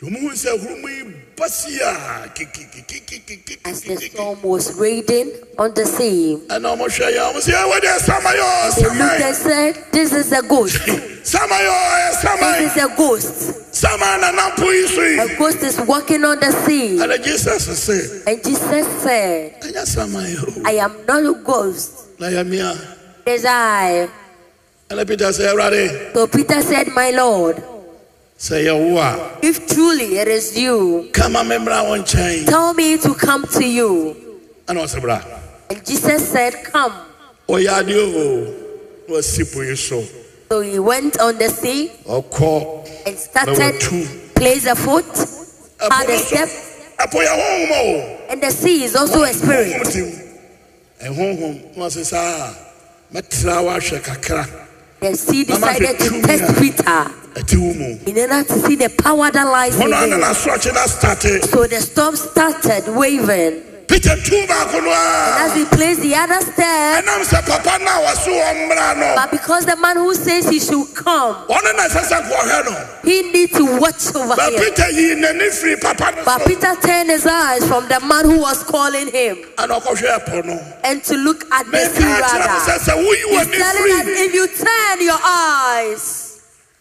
Speaker 1: domuhu sɛ hurumu yi basi a
Speaker 2: As the
Speaker 1: kikikikikikikiki
Speaker 2: storm was raging on the sea,
Speaker 1: ɛna ɔmɔhwɛ yɛ ɔmo sɛ ɛwɔde ɛsamayɔ
Speaker 2: they looked
Speaker 1: samae
Speaker 2: and said, "This is a ghost.
Speaker 1: samayɔ
Speaker 2: This
Speaker 1: ɛsamae
Speaker 2: is a ghost.
Speaker 1: sama nanampo yi so
Speaker 2: A
Speaker 1: yi
Speaker 2: ghost is walking on the sea."
Speaker 1: ɛna jesus sɛ
Speaker 2: And Jesus said,
Speaker 1: ɛnyɛ samae o
Speaker 2: "I am not a ghost.
Speaker 1: na yɛ mea
Speaker 2: It is I.
Speaker 1: ɛna peter sɛ awurade
Speaker 2: So Peter said, My Lord,
Speaker 1: sɛ yɛwo a
Speaker 2: if truly it is you,
Speaker 1: kama me mmra wo nkyɛn
Speaker 2: tell me to come to you.
Speaker 1: ɛna ɔsɛ bra Oh,
Speaker 2: And Jesus said, Come.
Speaker 1: ɔyɛ adeɛ o na wasi po yi so
Speaker 2: So he went on the sea
Speaker 1: ɔkɔ
Speaker 2: and
Speaker 1: Number
Speaker 2: started,
Speaker 1: two.
Speaker 2: placed a foot, had a step,
Speaker 1: apo oh. yɛ honhom o
Speaker 2: and the sea is also a spirit.
Speaker 1: honhom tim Eh, ɛhonhom na ɔsɛ saa a mɛtena wo ahwɛ kakra
Speaker 2: The sea
Speaker 1: Mama,
Speaker 2: decided
Speaker 1: the
Speaker 2: to
Speaker 1: true
Speaker 2: test
Speaker 1: man.
Speaker 2: Peter
Speaker 1: ɛti wo mu
Speaker 2: in order to see the power that lies in
Speaker 1: ɔno ana
Speaker 2: him.
Speaker 1: nasorɔkye na starte
Speaker 2: So the storm started waving.
Speaker 1: peter ah. tu baako no
Speaker 2: As
Speaker 1: a
Speaker 2: he placed the other step,
Speaker 1: ɛnam sɛ Eh, papa no a wɔso wɔ mmra no
Speaker 2: but because the man who says he should come,
Speaker 1: ɔno na ɛsɛ sɛ kɔhwɛ no
Speaker 2: he needs to watch over
Speaker 1: na
Speaker 2: him.
Speaker 1: peter yii n'ani firi papa no
Speaker 2: But
Speaker 1: so
Speaker 2: Peter turned his eyes from the man who was calling him
Speaker 1: ana ɔkɔhwɛ ɛpɔ no
Speaker 2: and to look at the
Speaker 1: mɛka
Speaker 2: sea
Speaker 1: akyerɛ mo sɛ
Speaker 2: rather.
Speaker 1: sɛ woyi
Speaker 2: He's
Speaker 1: w'ani
Speaker 2: telling us
Speaker 1: firi
Speaker 2: if you turn your eyes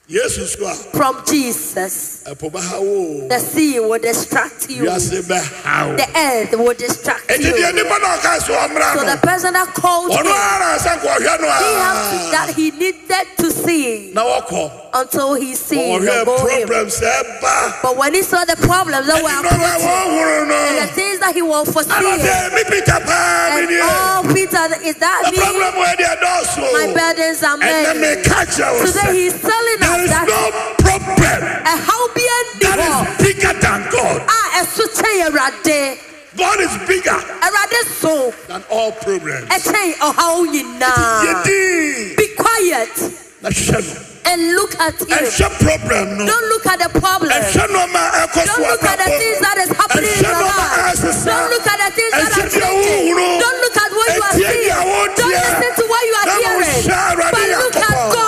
Speaker 1: yesu so a
Speaker 2: from Jesus,
Speaker 1: ɛpo bɛha wo
Speaker 2: the sea will distract you, the
Speaker 1: wiase bɛha wo
Speaker 2: earth will distract
Speaker 1: ɛnti deɛ
Speaker 2: you.
Speaker 1: nipa na ɔka so ɔmmra
Speaker 2: So the
Speaker 1: no
Speaker 2: person that called
Speaker 1: ɔno
Speaker 2: him, he
Speaker 1: ara sɛ kɔhwɛ no
Speaker 2: had to,
Speaker 1: a
Speaker 2: that he needed to see
Speaker 1: na wɔkɔ
Speaker 2: until he sees
Speaker 1: ɔhwɛ
Speaker 2: above him.
Speaker 1: Oh, problem sɛ ɛba
Speaker 2: But when he saw the problems that were
Speaker 1: ɛnɔma
Speaker 2: approaching
Speaker 1: wɔhoro
Speaker 2: and the
Speaker 1: no
Speaker 2: things that he was
Speaker 1: ana
Speaker 2: foreseeing,
Speaker 1: sɛ me peter paa
Speaker 2: and
Speaker 1: meneɛ
Speaker 2: oh Peter, is that
Speaker 1: the
Speaker 2: me?
Speaker 1: problem wɔ deɛ
Speaker 2: My
Speaker 1: dɔɔso
Speaker 2: burdens are
Speaker 1: ɛnɛ
Speaker 2: many.
Speaker 1: meka kyerɛ wo
Speaker 2: Today
Speaker 1: sɛ
Speaker 2: he's telling
Speaker 1: there
Speaker 2: us
Speaker 1: is
Speaker 2: that
Speaker 1: no problem
Speaker 2: a Halbian
Speaker 1: that
Speaker 2: Divo,
Speaker 1: is bigger than God
Speaker 2: ah, a Suche Erade,
Speaker 1: God is bigger
Speaker 2: Erade so,
Speaker 1: than all problems
Speaker 2: a Che Ohaoyina.
Speaker 1: yɛdi
Speaker 2: Be quiet
Speaker 1: na hwɛ no
Speaker 2: and look at him.
Speaker 1: ɛhwɛ problem no
Speaker 2: Ah. Don't look at the problem.
Speaker 1: ɛhwɛ nɔɔma ɛkɔ
Speaker 2: Don't
Speaker 1: so
Speaker 2: look at the things
Speaker 1: abrabɔ
Speaker 2: that is happening in
Speaker 1: Ɛhwɛ
Speaker 2: your
Speaker 1: nneɛma a
Speaker 2: life.
Speaker 1: ɛsesa.
Speaker 2: Don't look at the things that
Speaker 1: Ɛhwɛ
Speaker 2: are
Speaker 1: deɛ
Speaker 2: changing.
Speaker 1: wohunu.
Speaker 2: Don't look at what you are
Speaker 1: Ɛtie
Speaker 2: seeing.
Speaker 1: deɛ wotie.
Speaker 2: Don't listen to what you are
Speaker 1: Na wo
Speaker 2: hearing.
Speaker 1: hyɛ Awurade
Speaker 2: But look at
Speaker 1: Nyankopɔn.
Speaker 2: God.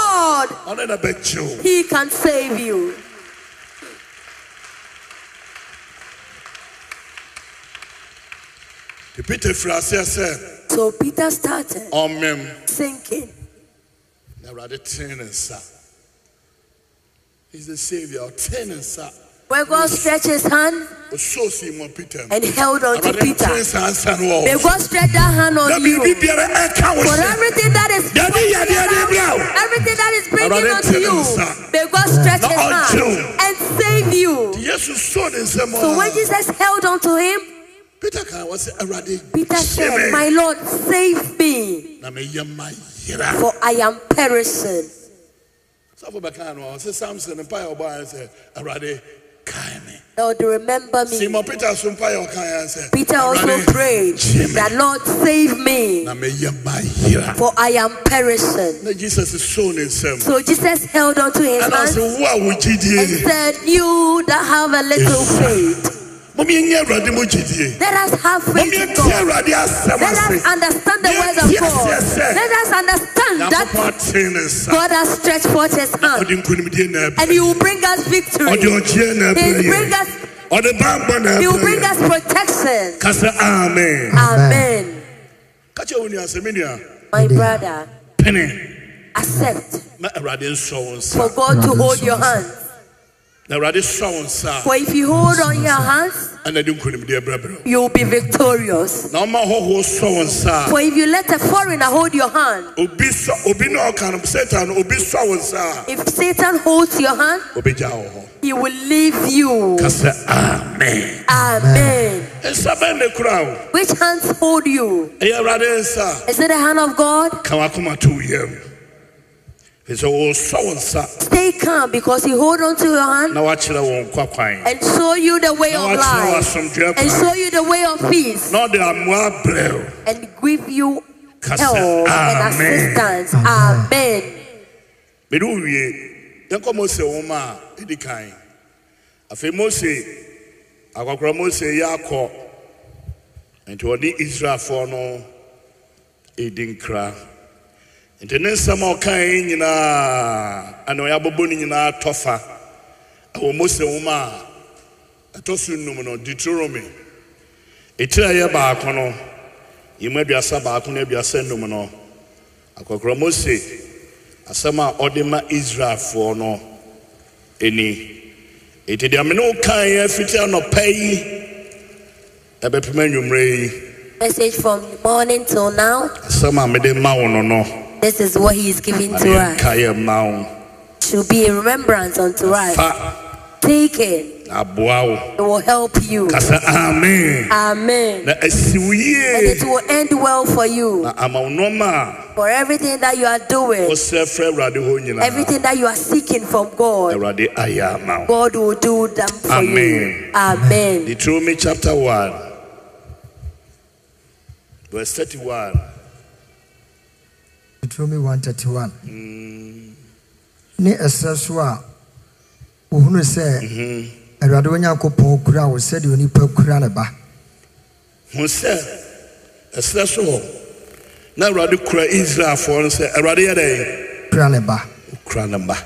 Speaker 1: ɔno na bɛkyew
Speaker 2: He can save you.
Speaker 1: nti peter firi aseɛ sɛ
Speaker 2: So Peter started
Speaker 1: ɔmem
Speaker 2: sinking.
Speaker 1: na awurade tee ne nsa He's the savior ɔtee ne nsa
Speaker 2: Where God stretched his hand
Speaker 1: ɔsoo sii mɔ peter mu
Speaker 2: and held on to
Speaker 1: awurade
Speaker 2: Peter.
Speaker 1: tee nsa nsa no wɔ
Speaker 2: May
Speaker 1: hɔ
Speaker 2: God stretch that hand
Speaker 1: na
Speaker 2: on you.
Speaker 1: biribi biara ɛka wo
Speaker 2: For
Speaker 1: hyɛ
Speaker 2: everything that is
Speaker 1: Daddy, yeah, yeah, yeah, yeah.
Speaker 2: everything that is bringing
Speaker 1: Brother,
Speaker 2: onto you,
Speaker 1: tell him, sir.
Speaker 2: may God stretch
Speaker 1: Not
Speaker 2: his hand
Speaker 1: until.
Speaker 2: and save you.
Speaker 1: yesu soo ne nsɛm
Speaker 2: So when
Speaker 1: hɔ
Speaker 2: Jesus held on to him,
Speaker 1: peter kaa wɔ sɛ awurade
Speaker 2: Peter said,
Speaker 1: me
Speaker 2: My Lord, save me,
Speaker 1: na meyɛ ma yera
Speaker 2: for I am perishing.
Speaker 1: sɔfo bɛka no ɔse samson mpaeɛ ɔbɔa sɛ awurade kae me
Speaker 2: Lord, remember me.
Speaker 1: simon peter so mpaeɛ ɔkaeɛ sɛ
Speaker 2: Peter also
Speaker 1: "Awurade,
Speaker 2: prayed
Speaker 1: gye me
Speaker 2: that, Lord, save me,
Speaker 1: na meyɛ mayera
Speaker 2: for I am perishing.
Speaker 1: na jesus soo ne nsɛm
Speaker 2: So Jesus held on to his
Speaker 1: ɛna
Speaker 2: hand
Speaker 1: sɛ wo a wo
Speaker 2: and
Speaker 1: gyidie
Speaker 2: said, You that have a little
Speaker 1: Yes.
Speaker 2: faith,
Speaker 1: momyɛnyɛ awurade mo gyidie
Speaker 2: let us have faith in
Speaker 1: momyɛtie
Speaker 2: God.
Speaker 1: awurade asɛm
Speaker 2: Let us
Speaker 1: ase
Speaker 2: understand the
Speaker 1: Yes,
Speaker 2: word of
Speaker 1: yes,
Speaker 2: God.
Speaker 1: yes, yes.
Speaker 2: Let us understand that
Speaker 1: nyankopɔn tee ne nsa
Speaker 2: God has stretched forth his hand
Speaker 1: ɔde nkonimdie na ɛbrɛ
Speaker 2: and he will bring us victory.
Speaker 1: ɔde ɔgyeɛ na
Speaker 2: He
Speaker 1: ɛbrɛ
Speaker 2: will bring
Speaker 1: yɛ
Speaker 2: us,
Speaker 1: ɔde bambɔ na
Speaker 2: he will
Speaker 1: ɛbrɛ
Speaker 2: bring
Speaker 1: yɛ
Speaker 2: us Ah. protection.
Speaker 1: ka sɛ amen
Speaker 2: Amen.
Speaker 1: ka kyerɛ wo nua sɛ me nua
Speaker 2: My brother,
Speaker 1: pene
Speaker 2: accept
Speaker 1: na awurade nsɔ wo nsa
Speaker 2: for God to hold your hands.
Speaker 1: na awurade sɔ wo nsa
Speaker 2: For if you hold on your hands,
Speaker 1: a ɛna de nkonimdie brɛbrɛ wo
Speaker 2: you will be victorious.
Speaker 1: na ɔma hɔhoɔ sɔ wo nsa
Speaker 2: For if you let a foreigner hold your hand,
Speaker 1: a obi sɔ obi na ɔka no satan no obi sɔ wo nsa
Speaker 2: if Satan holds your hand,
Speaker 1: a obɛgya wɔ hɔ
Speaker 2: he will leave you.
Speaker 1: ka sɛ amen
Speaker 2: Amen.
Speaker 1: nsa bɛn ne kura wo
Speaker 2: Which hands hold you?
Speaker 1: ɛyɛ awurade nsa
Speaker 2: Is it the hand of God?
Speaker 1: a ka wakoma to wo yam ɛfiri sɛ wɔresɔ wo nsa
Speaker 2: Stay calm because he hold on to your hand
Speaker 1: na wakyerɛ wɔn nkwa kwan
Speaker 2: and show you the way
Speaker 1: na wakyerɛ
Speaker 2: of
Speaker 1: wɔ
Speaker 2: life
Speaker 1: asomdwoeɛ
Speaker 2: and show
Speaker 1: kwan
Speaker 2: you the way of peace
Speaker 1: na ɔde amoa brɛ wo
Speaker 2: and give you
Speaker 1: ka
Speaker 2: help
Speaker 1: sɛ
Speaker 2: and
Speaker 1: amen
Speaker 2: assistance. Amen.
Speaker 1: mede wo wie yɛnkɔ mose woma a ɛdi kan afei mose akɔkorɔ mose yɛ akɔ nti ɔne israelfoɔ no ɛdi nkra nti ne nsɛm a ɔkae nyinaa ana ɔyɛ abobɔ no nyinaa tɔfa ɛwɔ mose woma a ɛtɔ so nnum no deuteronomy ɛtiri a ɛyɛ baako no yimu aduasa baako ne aduasa nnum no akɔkorɔ mose asɛm a ɔde ma israelfoɔ no ɛni ɛti deɛ mene wo kaeɛ fiti anɔpa yi ɛbɛpem anwummerɛ yi
Speaker 2: Message from morning till now.
Speaker 1: asɛm a mede ma wo no no
Speaker 2: This is what He is giving to
Speaker 1: Adeɛ
Speaker 2: us
Speaker 1: nka yɛ mma wo.
Speaker 2: to be a remembrance unto us.
Speaker 1: Fa
Speaker 2: Take it,
Speaker 1: na aboa wo.
Speaker 2: it will help you.
Speaker 1: Ka sɛ amen.
Speaker 2: Amen.
Speaker 1: Na asi wo
Speaker 2: And
Speaker 1: yie.
Speaker 2: it will end well for you
Speaker 1: Na ama wo nneɛma
Speaker 2: for everything that you are
Speaker 1: a
Speaker 2: doing,
Speaker 1: wosrɛ frɛ Awurade hɔ nyinaa.
Speaker 2: everything that you are seeking from God.
Speaker 1: Awurade ayɛ ama wo.
Speaker 2: God will do them for
Speaker 1: Amen.
Speaker 2: you. Amen.
Speaker 1: Deuteronomy chapter 1, verse 31.
Speaker 3: Deuteronomy 131.
Speaker 1: Mm.
Speaker 3: Ne ɛsrɛ so a wohunu sɛ
Speaker 1: Mm-hmm.
Speaker 3: Awurade wo Nyankopɔn kura wo sɛdeɛ onipa kura ne ba.
Speaker 1: Hun sɛ ɛsrɛ so hɔ na Awurade kura Israelfoɔ no sɛ Awurade yɛ dɛn?
Speaker 3: Kura ne ba.
Speaker 1: Okura ne mma.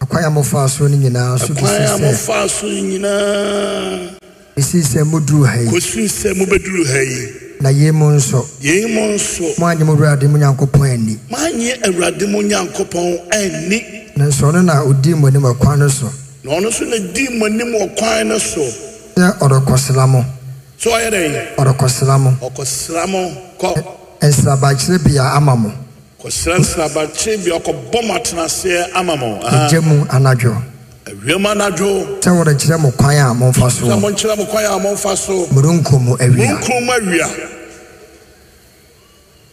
Speaker 3: Akwan a mofaa so no nyinaa so
Speaker 1: Ɛkwan a
Speaker 3: bɛsi sɛ
Speaker 1: mofaa so nyinaa
Speaker 3: bɛsi sɛ moduru ha yi
Speaker 1: kosii sɛ mobɛduru ha yi.
Speaker 3: na yei mu nso
Speaker 1: Yei mo nso
Speaker 3: moanyɛ mo Awurade mo Nyankopɔn ani.
Speaker 1: moanyɛ Awurade mo Nyankopɔn anni
Speaker 3: Nanso ɔno na odii mo anim ɛkwan no so
Speaker 1: na ɔno nso na dii mo anim wɔ kwan no so.
Speaker 3: sɛ ɔdɔkɔsra mo
Speaker 1: Sɛ ɔyɛ dɛn?
Speaker 3: ɔdɔkɔsra mo
Speaker 1: Ɔkɔsra mo kɔ.
Speaker 3: nsrabakyerɛbea ama mo
Speaker 1: Kɔsra nsrabakyere bi ɔkɔbɔ mo atenaseɛ ama mo. Ah, Aha.
Speaker 3: ɛgya mu anadwo
Speaker 1: Awia mu anadwo
Speaker 3: sɛ wɔde kyerɛ mo kwan a momfa so
Speaker 1: na
Speaker 3: wɔ
Speaker 1: monkyerɛ mo kwan a momfa so.
Speaker 3: morenko mu awia
Speaker 1: Monkuro mu awia.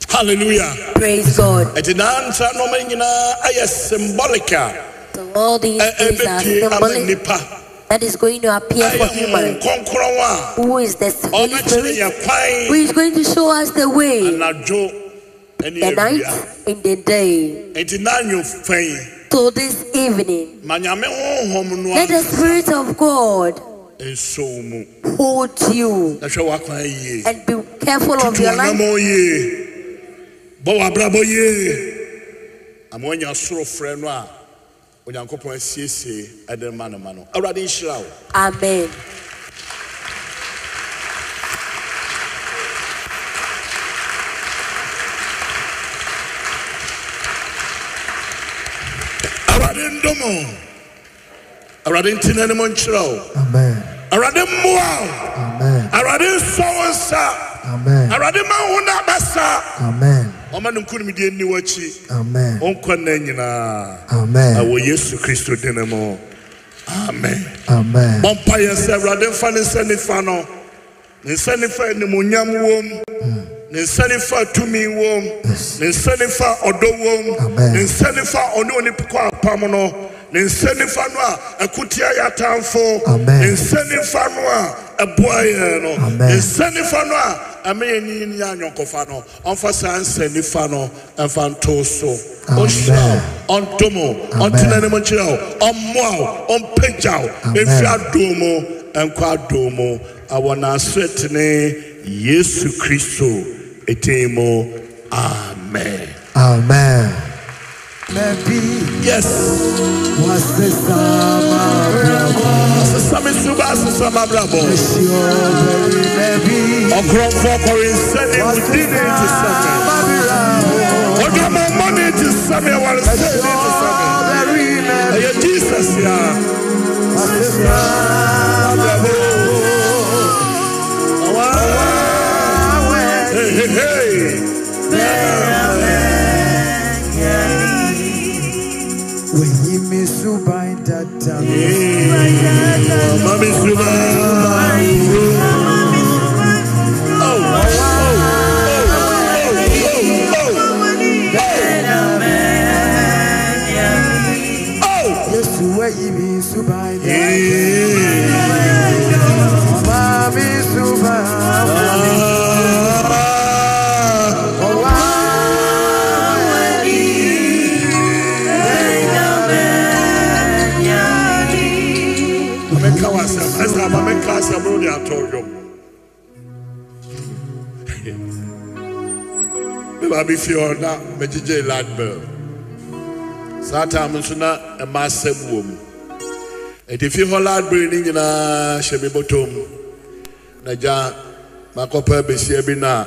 Speaker 1: Hallelujah.
Speaker 2: Praise God.
Speaker 1: Ɛti naa ntra nneɛma yi nyinaa ayɛ symbolic a
Speaker 2: So all these
Speaker 1: ɛ-
Speaker 2: things are
Speaker 1: ɛbɛpie ama
Speaker 2: symbolic
Speaker 1: nipa.
Speaker 2: that is going to appear for
Speaker 1: Ayɛ
Speaker 2: human.
Speaker 1: mu nkɔnkorɔn a
Speaker 2: Who is this Holy
Speaker 1: ɔbɛkyerɛ
Speaker 2: Spirit?
Speaker 1: yɛ kwan
Speaker 2: Who is going to show us the way?
Speaker 1: anadwo ɛne awia.
Speaker 2: The night in the day.
Speaker 1: Ɛti naa nyo fɛn
Speaker 2: So this evening,
Speaker 1: ma nyame honhom no
Speaker 2: let
Speaker 1: a
Speaker 2: the Spirit of God
Speaker 1: nso wo mu.
Speaker 2: hold you
Speaker 1: Na hwɛ w'akwan yie.
Speaker 2: and be careful of
Speaker 1: Tutu
Speaker 2: your life.
Speaker 1: w'anammɔn yie. Bɔ w'abrabɔ yie. Ama woanya soro frɛ no a Onyankopɔn asiesie ɛde rema no ma no. Awurade nhyira wo.
Speaker 2: Amen.
Speaker 1: awurade ndomo awurade ntina ne mo nkyerɛ wo
Speaker 3: amen
Speaker 1: awurade mmoa
Speaker 3: amen
Speaker 1: wo awurade nsɔ wo nsa
Speaker 3: amen
Speaker 1: awurade ma wo na bɛsa
Speaker 3: amen
Speaker 1: ɔma no nkonimdie nni w'akyi
Speaker 3: amen
Speaker 1: ɔnkɔ nna nyinaa
Speaker 3: amen
Speaker 1: ɛwɔ yesu kristo din mu amen
Speaker 3: amen
Speaker 1: bɔmpa yɛ sɛ awurade mfa ne nsa nifa no ne nsa nifa animonyam wom ne nsa nifa tumi wom
Speaker 3: Yes.
Speaker 1: ne nsa nifa ɔdɔ wom
Speaker 3: Amen.
Speaker 1: ne nsa nifa ɔne onipa kɔ apam no ne nsa nifa no a ɛkutia yɛ atamfo
Speaker 3: Amen.
Speaker 1: ne nsa nifa no a ɛboa yɛn no
Speaker 3: Amen.
Speaker 1: ne nsa nifa no a ɛma yɛn nyi ne anyɔnkɔfa no ɔmfa saa nsa nifa no ɛmfa nto so
Speaker 3: Amen.
Speaker 1: ɔhyira wo ɔntomo
Speaker 3: Amen.
Speaker 1: ɔntena ne mu nkyerɛ wo ɔmmoa wo ɔmpagya wo
Speaker 3: Amen.
Speaker 1: ɛmfi adom mu ɛnkɔ adom mu awɔ n'asetene yesu kristo ɛtin mu amen
Speaker 3: amen. Maybe
Speaker 1: yes
Speaker 3: was the summer
Speaker 1: asesame so ba asesam abrabɔ
Speaker 3: maybe
Speaker 1: ɔkorɔmfoɔ kɔre nsɛne wodi ne nte sɛme ɔdwama mmɔ ne nte sɛme ɛware sɛ ne nte sɛme ɛyɛ jesus a Hey, hey, hey.
Speaker 3: When he miss you by that time,
Speaker 1: Mami Suba. Oh, oh, oh, oh, oh, oh. Oh.
Speaker 3: yes, where he miss you by that
Speaker 1: Yeah.
Speaker 3: time, miss you by.
Speaker 1: Ah. Mɛka w'asɛm. Ɛsɛ aba mɛka asɛm no de atɔ dwom. Meba bi fie hɔ na megyegye light bill. Saa time nso na ɛma asɛm wɔ mu. Ɛti fie hɔ light bill no nyinaa hyɛ me bɔtɔ mu. Na gya makɔpɛ besia bi na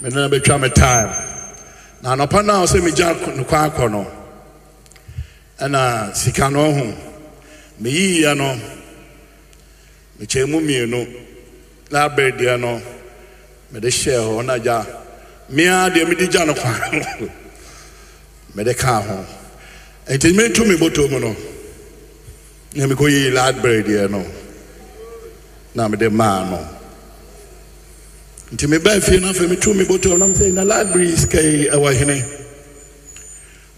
Speaker 1: me nan bɛtwa me time. Na anɔpa no a ɔsɛ megya no kwan akɔ no. Ɛna sika no ɔho meyiiɛ no mekyɛn mu mmienu na abɛɛdeɛ no mede hyɛɛ hɔ na gya mea deɛ mede gya no kwan mede kaa ho nti metu me boto mu no na mekɔyii ladberry deɛ no na mede maa no nti mebaa fie no afei metu me boto mu na mesɛ na ladberry sika yi ɛwɔ hene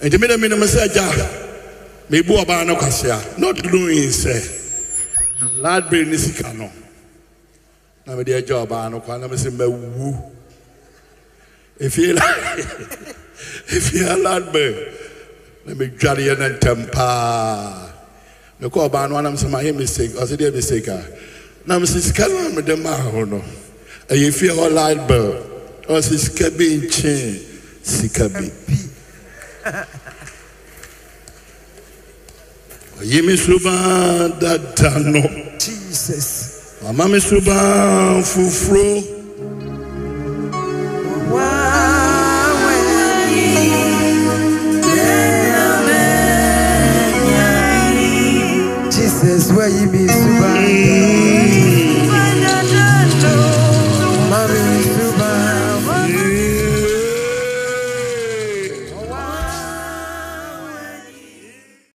Speaker 1: nti mede menem sɛ gya mebu ɔbaa no kwasea not knowing sɛ ladberry ne sika no na mede agya ɔbaa no kwa na mesɛ mawu efie la efie aladberry na medware yɛ ne ntɛm paa mekɔ ɔbaa no anam sɛ mayɛ mistake ɔsɛ deɛ mistake a na mesɛ sika no a mede maa ho no ɛyɛ fie hɔ ladberry ɔsɛ sika bi nkyee sika bi ɔyi me suban dada no
Speaker 4: Jesus.
Speaker 1: mama me suban foforo
Speaker 4: Jesus, where you be?